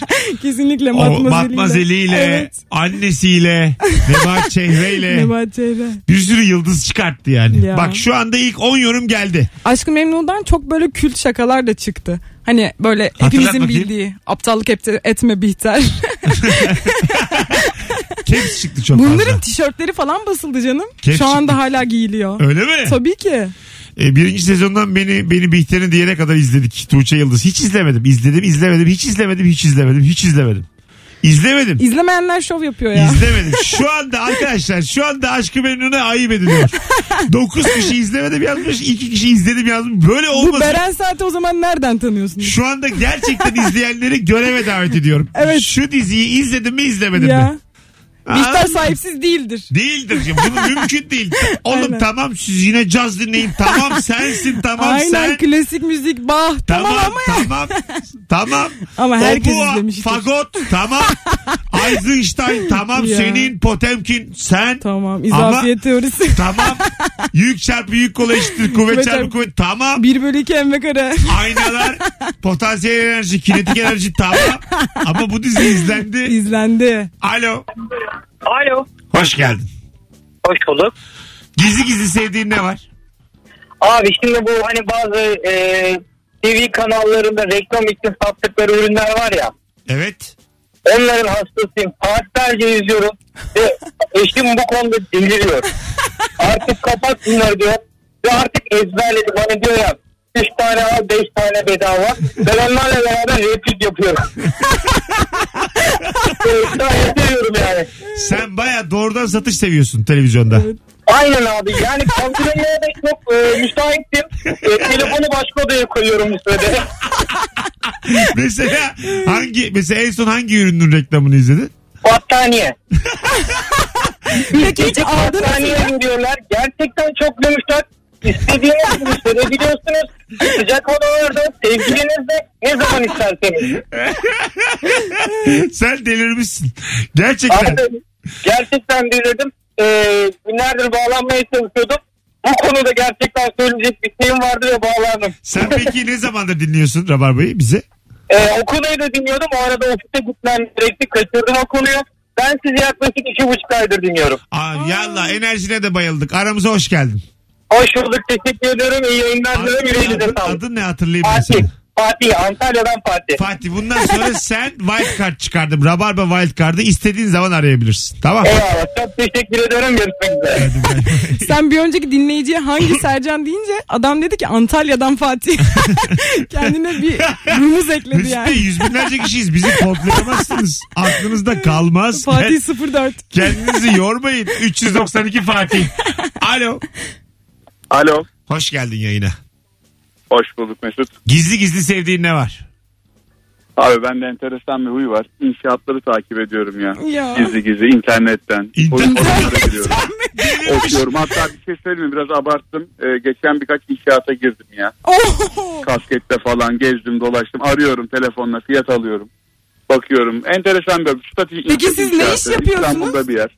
[SPEAKER 3] Kesinlikle
[SPEAKER 2] o
[SPEAKER 3] Matmazeli'yle.
[SPEAKER 2] Matmazeli'yle,
[SPEAKER 3] Evet. [LAUGHS]
[SPEAKER 2] annesiyle, Nebahat Çehre'yle.
[SPEAKER 3] Nebahat Ceylan.
[SPEAKER 2] bir sürü yıldız çıkarttı yani.
[SPEAKER 3] Ya.
[SPEAKER 2] Bak şu anda ilk 10 yorum geldi.
[SPEAKER 3] Aşkı Memnu'dan çok böyle kült şakalar da çıktı. Hani böyle hepimizin
[SPEAKER 2] bakayım.
[SPEAKER 3] bildiği aptallık et-
[SPEAKER 2] [LAUGHS]
[SPEAKER 3] etme Bihter.
[SPEAKER 2] Caps çıktı çok
[SPEAKER 3] Bunların
[SPEAKER 2] fazla.
[SPEAKER 3] tişörtleri falan basıldı canım.
[SPEAKER 2] Keşke.
[SPEAKER 3] Şu anda hala giyiliyor.
[SPEAKER 2] Öyle mi?
[SPEAKER 3] Tabii ki.
[SPEAKER 2] E, birinci sezondan beni beni Bihter'in diyene kadar izledik. Tuğçe Yıldız. Hiç izlemedim. İzledim, izlemedim, hiç izlemedim, hiç izlemedim, hiç izlemedim. İzlemedim.
[SPEAKER 3] İzlemeyenler şov yapıyor ya.
[SPEAKER 2] İzlemedim. Şu anda arkadaşlar şu anda Aşkı Memnun'a ayıp ediliyor. 9 kişi izlemedim yazmış. 2 kişi izledim yazmış. Böyle
[SPEAKER 3] Bu
[SPEAKER 2] olmaz.
[SPEAKER 3] Beren Saat'i o zaman nereden tanıyorsun?
[SPEAKER 2] Şu anda gerçekten izleyenleri göreve davet ediyorum.
[SPEAKER 3] Evet.
[SPEAKER 2] Şu diziyi izledim mi izlemedim mi?
[SPEAKER 3] Ya. Bihter
[SPEAKER 2] Aa,
[SPEAKER 3] sahipsiz değildir.
[SPEAKER 2] Değildir. ya. Bunu mümkün değil. Oğlum
[SPEAKER 3] Aynen.
[SPEAKER 2] tamam siz yine caz dinleyin. Tamam sensin tamam
[SPEAKER 3] Aynen
[SPEAKER 2] sen.
[SPEAKER 3] klasik müzik bah tamam,
[SPEAKER 2] Tamam
[SPEAKER 3] ama ya.
[SPEAKER 2] tamam tamam.
[SPEAKER 3] Ama herkes
[SPEAKER 2] Obua,
[SPEAKER 3] izlemiştir.
[SPEAKER 2] Fagot tamam. Eisenstein tamam
[SPEAKER 3] Ya.
[SPEAKER 2] senin Potemkin sen.
[SPEAKER 3] Tamam
[SPEAKER 2] [LAUGHS]
[SPEAKER 3] izafiyet teorisi.
[SPEAKER 2] Tamam. yük çarpı yük kola eşittir. Kuvvet
[SPEAKER 3] Kuvvet
[SPEAKER 2] çarpı
[SPEAKER 3] çarpı-
[SPEAKER 2] kuvvet. Tamam.
[SPEAKER 3] 1 bölü 2 emme kare.
[SPEAKER 2] Aynalar. potansiyel enerji. Kinetik enerji. Tamam. Ama bu dizi izlendi.
[SPEAKER 3] İzlendi.
[SPEAKER 2] Alo.
[SPEAKER 9] Alo.
[SPEAKER 2] Hoş geldin.
[SPEAKER 9] Hoş bulduk.
[SPEAKER 2] Gizli gizli sevdiğin ne var?
[SPEAKER 9] Abi şimdi bu hani bazı e, TV kanallarında reklam için sattıkları ürünler var ya.
[SPEAKER 2] Evet.
[SPEAKER 9] Onların hastasıyım. Saatlerce izliyorum.
[SPEAKER 4] [LAUGHS]
[SPEAKER 9] Ve eşim bu konuda deliriyor. Artık kapat bunları diyor. Ve artık ezberledim. Hani diyor ya 3 tane al 5 tane bedava. Ben onlarla beraber replik
[SPEAKER 4] [LAUGHS]
[SPEAKER 9] yapıyorum. Ben seviyorum yani.
[SPEAKER 2] Sen baya doğrudan satış seviyorsun televizyonda.
[SPEAKER 9] Aynen abi. Yani kaldırmaya da çok e, müsaitim. E, telefonu başka odaya koyuyorum bu sırada.
[SPEAKER 2] [LAUGHS]
[SPEAKER 9] [LAUGHS]
[SPEAKER 2] mesela hangi mesela en son hangi ürünün reklamını izledin?
[SPEAKER 9] Battaniye.
[SPEAKER 3] [LAUGHS] Peki hiç aldın mı?
[SPEAKER 9] Battaniye ürün diyorlar. Gerçekten çok dönüşler. İstediğiniz gibi sevebiliyorsunuz. Sıcak odalarda sevgilinizle ne zaman isterseniz.
[SPEAKER 2] [LAUGHS] Sen delirmişsin. Gerçekten.
[SPEAKER 9] Abi, gerçekten delirdim. Ee, günlerdir bağlanmaya çalışıyordum. Bu konuda gerçekten söyleyecek bir şeyim vardı ve bağlandım.
[SPEAKER 2] Sen peki ne zamandır dinliyorsun Rabarba'yı bize?
[SPEAKER 9] Ee, o konuyu da dinliyordum. O arada ofiste gitmem gerekti. Kaçırdım o konuyu. Ben sizi yaklaşık iki buçuk aydır dinliyorum.
[SPEAKER 2] Aa, yallah enerjine de bayıldık. Aramıza hoş geldin.
[SPEAKER 9] Hoş bulduk. Teşekkür ediyorum. İyi yayınlar diliyorum. Yüreğinize
[SPEAKER 2] Adın,
[SPEAKER 9] sağlık.
[SPEAKER 2] adın ne hatırlayayım ben
[SPEAKER 9] Fatih.
[SPEAKER 2] sana.
[SPEAKER 9] Fatih. Antalya'dan Fatih.
[SPEAKER 2] Fatih bundan sonra sen wild card çıkardım. Rabarba wild card'ı istediğin zaman arayabilirsin. Tamam.
[SPEAKER 9] Eyvallah. Çok teşekkür ediyorum. Görüşmek üzere.
[SPEAKER 3] Sen bir önceki dinleyiciye hangi Sercan deyince adam dedi ki Antalya'dan Fatih. [LAUGHS] Kendine bir rumuz ekledi
[SPEAKER 2] Mesut Bey
[SPEAKER 3] yani.
[SPEAKER 2] yüz binlerce kişiyiz. Bizi kodlayamazsınız. Aklınızda kalmaz.
[SPEAKER 3] Fatih
[SPEAKER 2] Kend-
[SPEAKER 3] 04.
[SPEAKER 2] Kendinizi yormayın. 392 Fatih. Alo.
[SPEAKER 5] Alo.
[SPEAKER 2] Hoş geldin yayına.
[SPEAKER 4] Hoş bulduk Mesut.
[SPEAKER 2] Gizli gizli sevdiğin ne var?
[SPEAKER 4] Abi bende enteresan bir huy var. İnşaatları takip ediyorum ya.
[SPEAKER 3] Ya.
[SPEAKER 4] Gizli gizli internetten.
[SPEAKER 2] İnternet-
[SPEAKER 4] Forumlara giriyorum. Okuyorum. Hatta bir şey söyleyeyim mi? biraz abarttım. Ee, geçen birkaç inşaata girdim ya.
[SPEAKER 3] Oo.
[SPEAKER 4] Kaskette falan gezdim dolaştım. Arıyorum telefonla fiyat alıyorum. Bakıyorum. Enteresan bir stratejik.
[SPEAKER 3] Peki siz ne iş
[SPEAKER 4] inşaatı.
[SPEAKER 3] yapıyorsunuz?
[SPEAKER 4] İstanbul'da bir yer.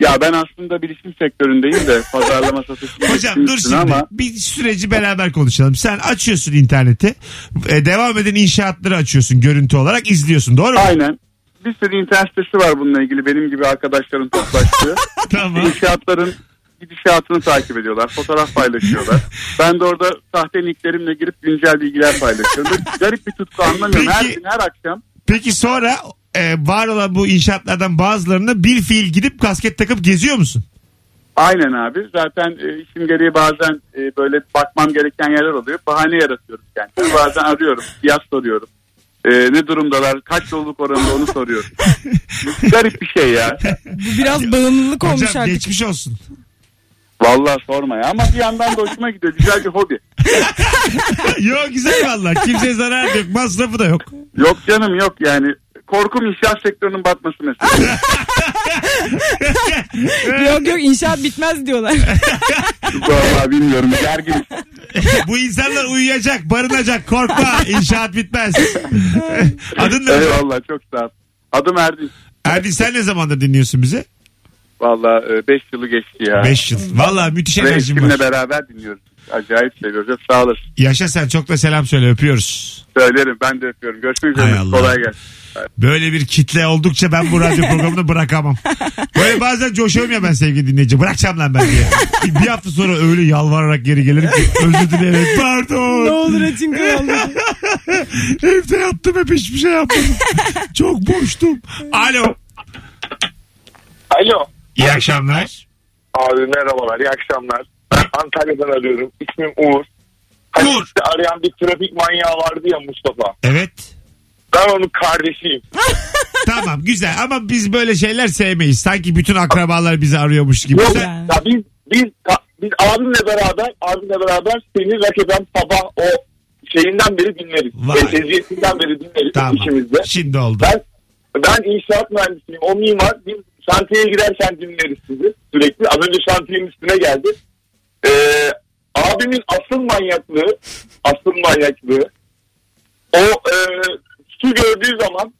[SPEAKER 4] Ya ben aslında bilişim sektöründeyim de pazarlama satış
[SPEAKER 2] Hocam dur
[SPEAKER 4] üstüne
[SPEAKER 2] şimdi
[SPEAKER 4] ama
[SPEAKER 2] bir süreci beraber konuşalım. Sen açıyorsun interneti. E, devam eden inşaatları açıyorsun görüntü olarak izliyorsun doğru mu?
[SPEAKER 4] aynen bir sürü internet sitesi var bununla ilgili benim gibi arkadaşların toplaştığı.
[SPEAKER 2] Tamam.
[SPEAKER 4] İnşaatların gidişatını takip ediyorlar. Fotoğraf paylaşıyorlar. Ben de orada sahte nicklerimle girip güncel bilgiler paylaşıyorum. Böyle Garip bir tutku anlamıyorum. Her
[SPEAKER 2] Peki-
[SPEAKER 4] gün her akşam
[SPEAKER 2] Peki sonra e, var olan bu inşaatlardan bazılarına bir fiil gidip kasket takıp geziyor
[SPEAKER 3] [LAUGHS]
[SPEAKER 2] musun?
[SPEAKER 4] Aynen abi. Zaten e, işim gereği bazen e, böyle bakmam gereken yerler oluyor. Bahane yaratıyorum kendime. Bazen arıyorum. Fiyat soruyorum. E, ne durumdalar? Kaç yolculuk oranında onu
[SPEAKER 2] [LAUGHS]
[SPEAKER 4] soruyorum. Garip bir şey ya.
[SPEAKER 3] Bu biraz bağımlılık olmuş
[SPEAKER 2] Hocam
[SPEAKER 3] artık.
[SPEAKER 2] geçmiş olsun. [LAUGHS]
[SPEAKER 4] Vallahi sorma ya. Ama bir yandan da hoşuma gidiyor. Güzel bir hobi.
[SPEAKER 2] yok güzel valla. Kimseye zarar yok. Masrafı da yok.
[SPEAKER 4] Yok canım yok yani. Korkum inşaat sektörünün batması
[SPEAKER 2] [LAUGHS]
[SPEAKER 4] mesela.
[SPEAKER 3] [LAUGHS] Yok yok inşaat
[SPEAKER 2] [LAUGHS]
[SPEAKER 3] bitmez diyorlar.
[SPEAKER 4] Vallahi bilmiyorum. Gergin.
[SPEAKER 2] Bu insanlar uyuyacak, barınacak. Korkma. İnşaat bitmez. [LAUGHS] Adın ne?
[SPEAKER 4] Eyvallah çok sağ ol. Adım Erdin.
[SPEAKER 2] Erdi sen ne zamandır dinliyorsun bizi?
[SPEAKER 4] Vallahi 5 yılı geçti ya.
[SPEAKER 2] 5 yıl. Valla müthiş
[SPEAKER 4] Ve
[SPEAKER 2] enerjim
[SPEAKER 4] eşimle
[SPEAKER 2] var.
[SPEAKER 4] beraber dinliyoruz. Acayip seviyoruz. Hep Sağ olasın.
[SPEAKER 2] Yaşa sen çok da selam söyle öpüyoruz.
[SPEAKER 4] Söylerim ben de öpüyorum. Görüşmek üzere.
[SPEAKER 2] Hay Allah.
[SPEAKER 4] Kolay gelsin.
[SPEAKER 2] Böyle bir kitle oldukça ben bu radyo programını bırakamam. Böyle bazen coşuyorum ya ben sevgili dinleyici. Bırakacağım lan ben diye. Bir hafta sonra öyle yalvararak geri gelirim ki özür dileyerek
[SPEAKER 3] ne
[SPEAKER 2] pardon.
[SPEAKER 3] olur açın kanalı.
[SPEAKER 2] Evde yattım hep hiçbir şey yapmadım. Çok boştum. Alo.
[SPEAKER 4] Alo.
[SPEAKER 2] İyi akşamlar.
[SPEAKER 4] Abi merhabalar. iyi akşamlar. Ben Antalya'dan arıyorum. İsmim Uğur. Hani
[SPEAKER 2] Uğur.
[SPEAKER 4] işte arayan bir trafik manyağı vardı ya Mustafa.
[SPEAKER 2] Evet.
[SPEAKER 4] Ben onun kardeşiyim.
[SPEAKER 2] Tamam güzel ama biz böyle şeyler sevmeyiz. Sanki bütün akrabalar bizi arıyormuş gibi.
[SPEAKER 4] Yok
[SPEAKER 2] Sen-
[SPEAKER 4] ya biz biz ya biz abimle beraber abimle beraber seni rakiben sabah o şeyinden beri dinleriz.
[SPEAKER 2] Vay.
[SPEAKER 4] Ve Tezgahından beri dinleriz
[SPEAKER 2] Tamam.
[SPEAKER 4] ikimizde.
[SPEAKER 2] Şimdi oldu.
[SPEAKER 4] Ben ben inşaat mühendisiyim. O mimar. Biz şantiyeye girerken dinleriz sizi sürekli. Az önce şantiyenin üstüne geldi. Ee, abimin asıl manyaklığı asıl manyaklığı o e, su gördüğü zaman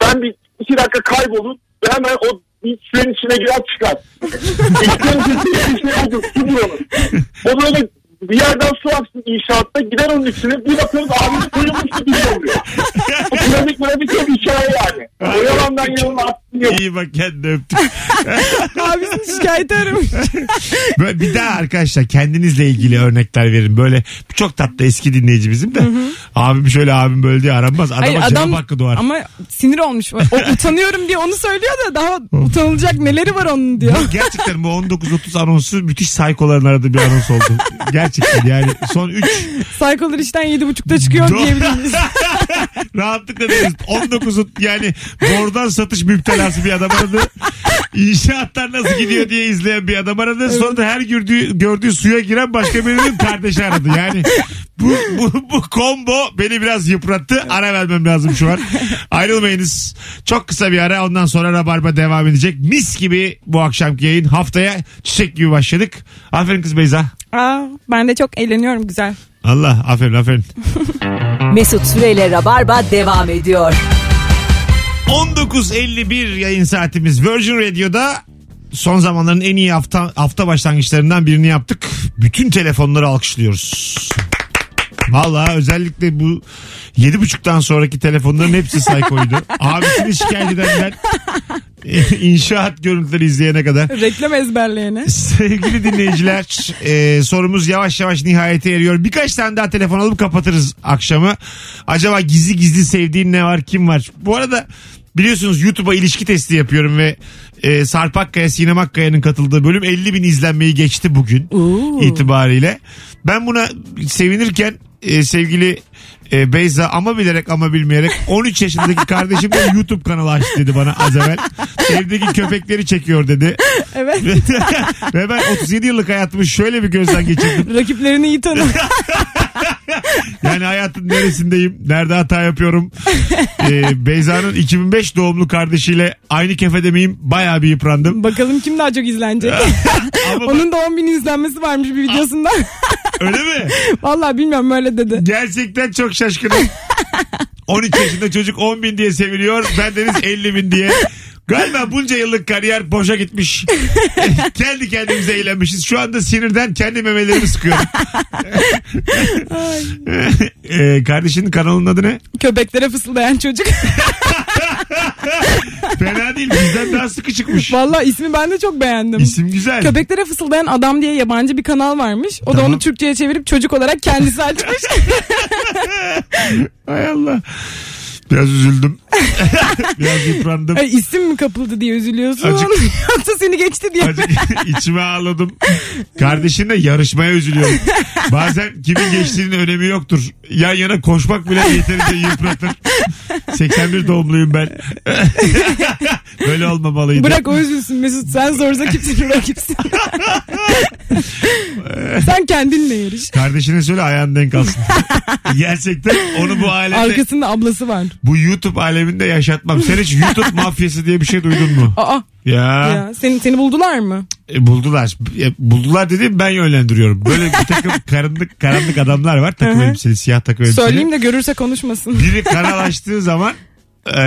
[SPEAKER 4] ben bir iki dakika kaybolup ve hemen o bir suyun içine girer çıkar. İçten bir şey olur. Su diyorlar. O böyle bir yerden su aksın inşaatta gider onun içine bir bakıyoruz abimiz kuyumuş gibi şey oluyor. Dinamik dinamik bir hikaye yani. O yalandan yalan atsın yok.
[SPEAKER 2] İyi bak kendini öptük.
[SPEAKER 3] Abisini şikayet aramış.
[SPEAKER 2] Böyle bir daha arkadaşlar kendinizle ilgili örnekler verin. Böyle çok tatlı eski dinleyici bizim de. Abim şöyle abim böyle diye aranmaz. Adama
[SPEAKER 3] Hayır,
[SPEAKER 2] cevap hakkı doğar.
[SPEAKER 3] Ama sinir olmuş. O, utanıyorum diye onu söylüyor da daha utanılacak neleri var onun diyor.
[SPEAKER 2] Bu gerçekten bu 19.30 anonsu müthiş saykoların aradığı bir anons oldu. Gerçekten yani son 3
[SPEAKER 3] Saykolar işten yedi buçukta çıkıyor
[SPEAKER 2] Doğru.
[SPEAKER 3] diyebiliriz.
[SPEAKER 2] [LAUGHS] rahatlıkla deriz. 19'un yani bordan satış müptelası bir adam aradı. İnşaatlar nasıl gidiyor diye izleyen bir adam aradı. Sonra da her gördüğü, gördüğü suya giren başka birinin kardeşi aradı. Yani bu, bu, bu combo beni biraz yıprattı. Ara vermem lazım şu an. Ayrılmayınız. Çok kısa bir ara ondan sonra Rabarba devam edecek. Mis gibi bu akşamki yayın. Haftaya çiçek gibi başladık. Aferin kız Beyza.
[SPEAKER 3] Aa, ben de çok eğleniyorum güzel.
[SPEAKER 2] Allah aferin aferin.
[SPEAKER 1] Mesut Süreyle Rabarba devam ediyor.
[SPEAKER 2] 19.51 yayın saatimiz Virgin Radio'da son zamanların en iyi hafta, hafta başlangıçlarından birini yaptık. Bütün telefonları alkışlıyoruz. Valla özellikle bu 7.30'dan sonraki telefonların hepsi saykoydu. Abisini şikayet edenler [LAUGHS] inşaat görüntüleri izleyene kadar.
[SPEAKER 3] Reklam ezberleyene.
[SPEAKER 2] Sevgili dinleyiciler e, sorumuz yavaş yavaş nihayete eriyor. Birkaç tane daha telefon alıp kapatırız akşamı. Acaba gizli gizli sevdiğin ne var kim var? Bu arada biliyorsunuz YouTube'a ilişki testi yapıyorum ve e, Sarp Akkaya Sinem Akkaya'nın katıldığı bölüm 50 bin izlenmeyi geçti bugün itibariyle. Ben buna sevinirken e, sevgili e, Beyza ama bilerek ama bilmeyerek 13 yaşındaki kardeşim de YouTube kanalı açtı dedi bana az evvel. Evdeki köpekleri çekiyor dedi.
[SPEAKER 3] Evet.
[SPEAKER 2] [LAUGHS] Ve ben 37 yıllık hayatımı şöyle bir gözden geçirdim.
[SPEAKER 3] Rakiplerini
[SPEAKER 2] [LAUGHS]
[SPEAKER 3] iyi tanı.
[SPEAKER 2] Yani hayatın neresindeyim? Nerede hata yapıyorum? E, Beyza'nın 2005 doğumlu kardeşiyle aynı kefede miyim? Bayağı bir yıprandım.
[SPEAKER 3] Bakalım kim daha çok izlenecek.
[SPEAKER 2] Ama
[SPEAKER 3] Onun da 10 bin izlenmesi varmış
[SPEAKER 2] [LAUGHS]
[SPEAKER 3] bir videosunda.
[SPEAKER 2] öyle mi?
[SPEAKER 3] Vallahi bilmiyorum öyle dedi.
[SPEAKER 2] Gerçekten çok şaşkınım. 13 yaşında çocuk 10 bin diye seviliyor. Ben deniz 50 bin diye. Galiba bunca yıllık kariyer boşa gitmiş. Kendi kendimize eğlenmişiz. Şu anda sinirden kendi memelerimi sıkıyorum. [LAUGHS] Ee, kardeşinin kanalının adı ne?
[SPEAKER 3] Köpeklere
[SPEAKER 2] [LAUGHS]
[SPEAKER 3] fısıldayan çocuk.
[SPEAKER 2] Fena değil bizden daha sıkı çıkmış.
[SPEAKER 3] Vallahi ismi ben de çok beğendim.
[SPEAKER 2] İsim güzel.
[SPEAKER 3] Köpeklere fısıldayan adam diye yabancı bir kanal varmış. O da
[SPEAKER 2] Tamam.
[SPEAKER 3] onu Türkçe'ye çevirip çocuk olarak
[SPEAKER 2] [LAUGHS]
[SPEAKER 3] kendisi açmış.
[SPEAKER 2] Hay Allah. Biraz üzüldüm. Biraz yıprandım.
[SPEAKER 3] Ay, isim mi kapıldı diye üzülüyorsun.
[SPEAKER 2] Acık-
[SPEAKER 3] [LAUGHS] Yoksa seni geçti diye.
[SPEAKER 2] Azıcık [LAUGHS] içime ağladım. Kardeşinle yarışmaya üzülüyorum. Bazen kimin geçtiğinin önemi yoktur. Yan yana koşmak bile yeterince yıpratır. 81 doğumluyum ben. [LAUGHS] Böyle olmamalıydı.
[SPEAKER 3] Bırak o üzülsün Mesut. Sen
[SPEAKER 2] [LAUGHS]
[SPEAKER 3] zorsa kimsin rakipsin. Sen kendinle yarış.
[SPEAKER 2] Kardeşine söyle ayağın denk alsın. Gerçekten onu bu alemde,
[SPEAKER 3] Arkasında ablası var.
[SPEAKER 2] bu YouTube aleminde yaşatmam. Sen hiç YouTube mafyası diye bir şey duydun mu?
[SPEAKER 3] Aa
[SPEAKER 2] Ya,
[SPEAKER 3] ya seni seni buldular mı?
[SPEAKER 2] e, buldular. E, buldular dediğim ben yönlendiriyorum. Böyle bir takım karanlık, karanlık adamlar var. Takım
[SPEAKER 3] Hı hı.
[SPEAKER 2] elbiseli, siyah takım elbiseli.
[SPEAKER 3] Söyleyeyim de görürse konuşmasın.
[SPEAKER 2] biri kanal açtığı zaman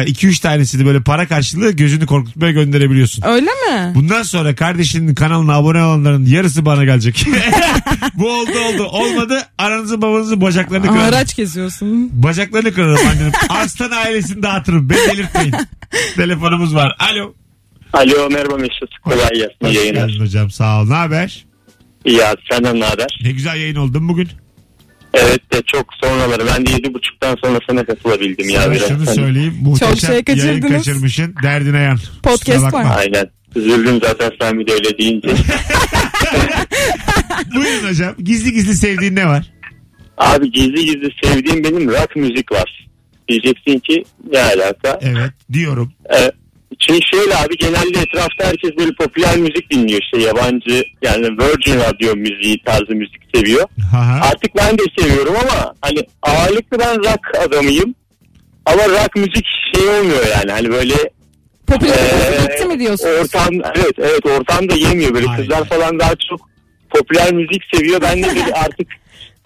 [SPEAKER 2] 2-3 tanesini böyle para karşılığı gözünü korkutmaya gönderebiliyorsun.
[SPEAKER 3] Öyle mi?
[SPEAKER 2] Bundan sonra kardeşinin kanalına abone olanların yarısı bana gelecek. [LAUGHS] Bu oldu oldu. Olmadı aranızı babanızı bacaklarını
[SPEAKER 3] Aa,
[SPEAKER 2] kırarım.
[SPEAKER 3] Araç geziyorsun.
[SPEAKER 2] Bacaklarını kırarım annem. Arslan ailesini dağıtırım. Beni delirtmeyin. Telefonumuz var. Alo.
[SPEAKER 9] Alo merhaba Mesut. Kolay gelsin. İyi yayınlar.
[SPEAKER 2] Geldin hocam sağ ol. Ne haber?
[SPEAKER 9] Ya senden ne haber?
[SPEAKER 2] Ne güzel yayın oldun bugün.
[SPEAKER 9] Evet de çok sonraları. Ben de yedi buçuktan sonra sana katılabildim ya
[SPEAKER 2] Sana
[SPEAKER 9] biraz.
[SPEAKER 2] şunu
[SPEAKER 9] Hani-
[SPEAKER 2] söyleyeyim. Muhteşem
[SPEAKER 3] şey
[SPEAKER 2] yayın
[SPEAKER 3] kaçırdınız.
[SPEAKER 2] kaçırmışsın. Derdine yan. Kusura
[SPEAKER 3] Podcast var.
[SPEAKER 2] bakma.
[SPEAKER 9] Aynen. Üzüldüm zaten sen bir de öyle deyince.
[SPEAKER 2] Buyurun hocam. Gizli gizli sevdiğin ne var?
[SPEAKER 9] Abi gizli gizli sevdiğim benim rock müzik var. Diyeceksin ki ne alaka?
[SPEAKER 2] Evet diyorum.
[SPEAKER 9] Ee, çünkü şöyle abi genelde etrafta herkes böyle popüler müzik dinliyor işte yabancı yani Virgin Radyo müziği tarzı müzik seviyor.
[SPEAKER 2] Ha ha.
[SPEAKER 9] Artık ben de seviyorum ama hani ağırlıklı ben rock adamıyım. Ama rock müzik şey olmuyor yani hani böyle
[SPEAKER 3] Popüler
[SPEAKER 9] Ee,
[SPEAKER 3] gitti mi diyorsun?
[SPEAKER 9] ortam evet evet ortam da yemiyor böyle
[SPEAKER 2] Aynen.
[SPEAKER 9] kızlar falan daha çok popüler müzik seviyor. Ben de
[SPEAKER 3] [LAUGHS]
[SPEAKER 9] böyle artık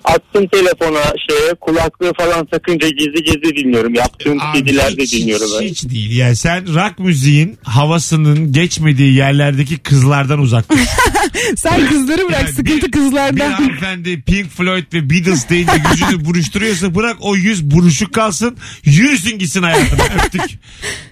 [SPEAKER 9] attım telefona şeye kulaklığı falan takınca gizli gizli dinliyorum. Yaptığım
[SPEAKER 2] Abi
[SPEAKER 9] CD'ler de
[SPEAKER 2] hiç-
[SPEAKER 9] dinliyorum.
[SPEAKER 2] Hiç,
[SPEAKER 9] ben.
[SPEAKER 2] hiç değil. Yani sen rock müziğin havasının geçmediği yerlerdeki kızlardan uzak
[SPEAKER 3] [LAUGHS]
[SPEAKER 2] dur.
[SPEAKER 3] Sen kızları bırak
[SPEAKER 2] Yani
[SPEAKER 3] sıkıntı
[SPEAKER 2] bir- Bir
[SPEAKER 3] kızlardan.
[SPEAKER 2] hanımefendi Pink Floyd ve Beatles deyince
[SPEAKER 3] [LAUGHS]
[SPEAKER 2] yüzünü buruşturuyorsa bırak o yüz buruşuk kalsın. Yürüsün gitsin
[SPEAKER 3] [LAUGHS]
[SPEAKER 2] hayatına. Öptük.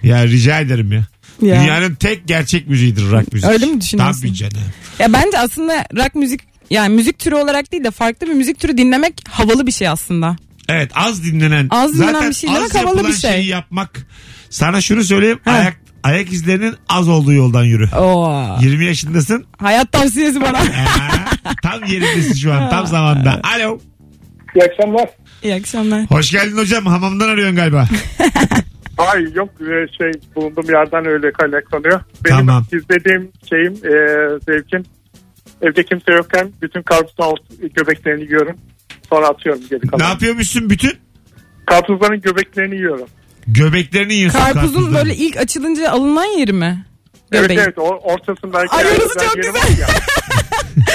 [SPEAKER 2] Ya rica ederim ya.
[SPEAKER 3] Ya.
[SPEAKER 2] Dünyanın tek gerçek müziğidir rock müzik.
[SPEAKER 3] Öyle mi düşünüyorsun?
[SPEAKER 2] Tabii canım.
[SPEAKER 3] Ya bence aslında rock müzik yani müzik türü olarak değil de farklı bir müzik türü dinlemek havalı bir şey aslında.
[SPEAKER 2] Evet az dinlenen.
[SPEAKER 3] Az dinlenen
[SPEAKER 2] zaten
[SPEAKER 3] bir şey demek
[SPEAKER 2] az
[SPEAKER 3] havalı
[SPEAKER 2] yapılan
[SPEAKER 3] bir şey.
[SPEAKER 2] şeyi yapmak. Sana şunu söyleyeyim. Ayak, ayak izlerinin az olduğu yoldan yürü.
[SPEAKER 3] Oo.
[SPEAKER 2] 20 yaşındasın.
[SPEAKER 3] Hayat tavsiyesi bana.
[SPEAKER 2] Ha, tam yerindesin şu an tam zamanda. Alo.
[SPEAKER 5] İyi akşamlar.
[SPEAKER 3] İyi akşamlar.
[SPEAKER 2] Hoş geldin hocam hamamdan arıyorsun galiba.
[SPEAKER 5] Hayır yok e, şey bulunduğum yerden öyle kaynaklanıyor. Benim
[SPEAKER 2] Tamam.
[SPEAKER 5] izlediğim şeyim e, zevkim evde kimse yokken bütün karpuzun alt göbeklerini yiyorum. Sonra atıyorum geri
[SPEAKER 2] ne
[SPEAKER 5] kalan.
[SPEAKER 2] yapıyormuşsun bütün?
[SPEAKER 5] Karpuzların göbeklerini yiyorum.
[SPEAKER 2] Göbeklerini yiyorsun.
[SPEAKER 3] Karpuzun
[SPEAKER 2] karpuzdan.
[SPEAKER 3] böyle ilk açılınca alınan yeri mi?
[SPEAKER 5] Evet
[SPEAKER 3] Göbeği.
[SPEAKER 5] evet o ortasındaki.
[SPEAKER 3] Ay, orası
[SPEAKER 5] yerden
[SPEAKER 3] çok
[SPEAKER 5] yeri
[SPEAKER 3] güzel.
[SPEAKER 5] var ya.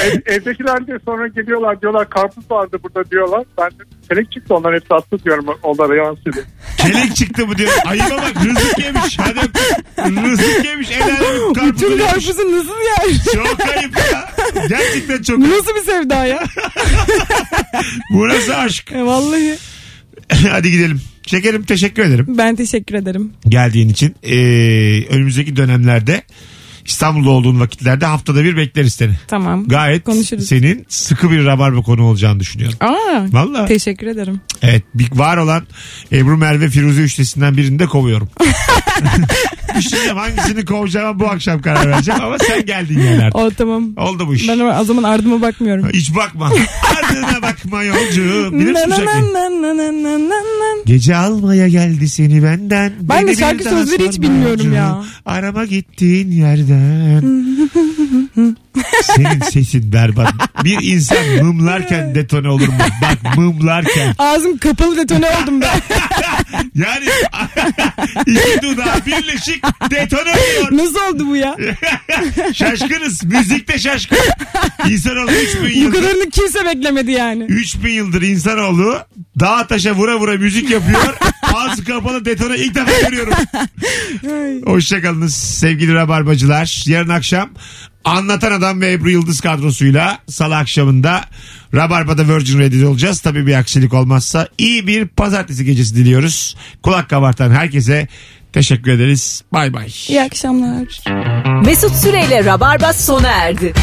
[SPEAKER 5] Ev- evdekiler de sonra geliyorlar diyorlar karpuz vardı burada diyorlar. Ben de kelek çıktı onların hepsi attı diyorum onlara yalan söylüyorum.
[SPEAKER 2] Kelek çıktı bu diyor. Ayıma bak rızık yemiş. Hadi öptüm. rızık yemiş. El alemin karpuzu
[SPEAKER 3] Bütün
[SPEAKER 2] yemiş.
[SPEAKER 3] karpuzu nasıl yer? [LAUGHS]
[SPEAKER 2] Çok ayıp ya. Gerçekten çok
[SPEAKER 3] Bu
[SPEAKER 2] ayıp.
[SPEAKER 3] nasıl bir sevda ya?
[SPEAKER 2] Burası aşk. [LAUGHS]
[SPEAKER 3] E, Vallahi
[SPEAKER 2] Hadi gidelim. Şekerim teşekkür ederim
[SPEAKER 3] ben teşekkür ederim.
[SPEAKER 2] geldiğin için. Ee, önümüzdeki dönemlerde İstanbul'da olduğun vakitlerde haftada bir bekleriz seni.
[SPEAKER 3] Tamam.
[SPEAKER 2] Gayet
[SPEAKER 3] Konuşuruz.
[SPEAKER 2] senin sıkı bir rabarba konu olacağını düşünüyorum.
[SPEAKER 3] Aa,
[SPEAKER 2] Valla.
[SPEAKER 3] teşekkür ederim. [LAUGHS]
[SPEAKER 2] Evet bir var olan Ebru Merve Firuze üçlüsünden birini de kovuyorum. düşüneceğim hangisini kovacağıma bu akşam karar vereceğim ama sen geldin yani artık.
[SPEAKER 3] O tamam.
[SPEAKER 2] Oldu bu iş.
[SPEAKER 3] Ben o zaman ardıma bakmıyorum.
[SPEAKER 2] Hiç
[SPEAKER 3] [LAUGHS]
[SPEAKER 2] bakma. Ardına bakma yolcu. Bilir misin
[SPEAKER 3] Na
[SPEAKER 2] bu
[SPEAKER 3] na
[SPEAKER 2] şarkıyı?
[SPEAKER 3] na na na na na na na.
[SPEAKER 2] Gece almaya geldi seni benden.
[SPEAKER 3] Ben de
[SPEAKER 2] Beni bir
[SPEAKER 3] şarkı
[SPEAKER 2] daha
[SPEAKER 3] sözleri hiç
[SPEAKER 2] sorma
[SPEAKER 3] bilmiyorum
[SPEAKER 2] yolcu.
[SPEAKER 3] ya.
[SPEAKER 2] Arama gittiğin
[SPEAKER 3] [LAUGHS]
[SPEAKER 2] yerden. Senin sesin berbat. Bir insan mımlarken detone olur mu? Bak mımlarken.
[SPEAKER 3] Ağzım kapalı detone oldum ben.
[SPEAKER 2] Yani [LAUGHS] iki dudağı birleşik detone oluyor.
[SPEAKER 3] [LAUGHS] Nasıl oldu bu ya?
[SPEAKER 2] Şaşkınız. Müzikte şaşkın. İnsanoğlu 3000
[SPEAKER 3] Bu
[SPEAKER 2] yıldır.
[SPEAKER 3] kadarını kimse beklemedi yani.
[SPEAKER 2] 3000 yıldır insanoğlu dağa taşa vura vura müzik yapıyor. Ağzı kapalı detone ilk defa görüyorum. Hoşçakalınız sevgili rabarbacılar. Yarın akşam Anlatan Adam ve Ebru Yıldız kadrosuyla salı akşamında Rabarba'da Virgin Radio'da olacağız. Tabii bir aksilik olmazsa iyi bir pazartesi gecesi diliyoruz. Kulak kabartan herkese teşekkür ederiz. Bay bay.
[SPEAKER 3] İyi akşamlar.
[SPEAKER 1] Mesut Süreyle Rabarba sona erdi.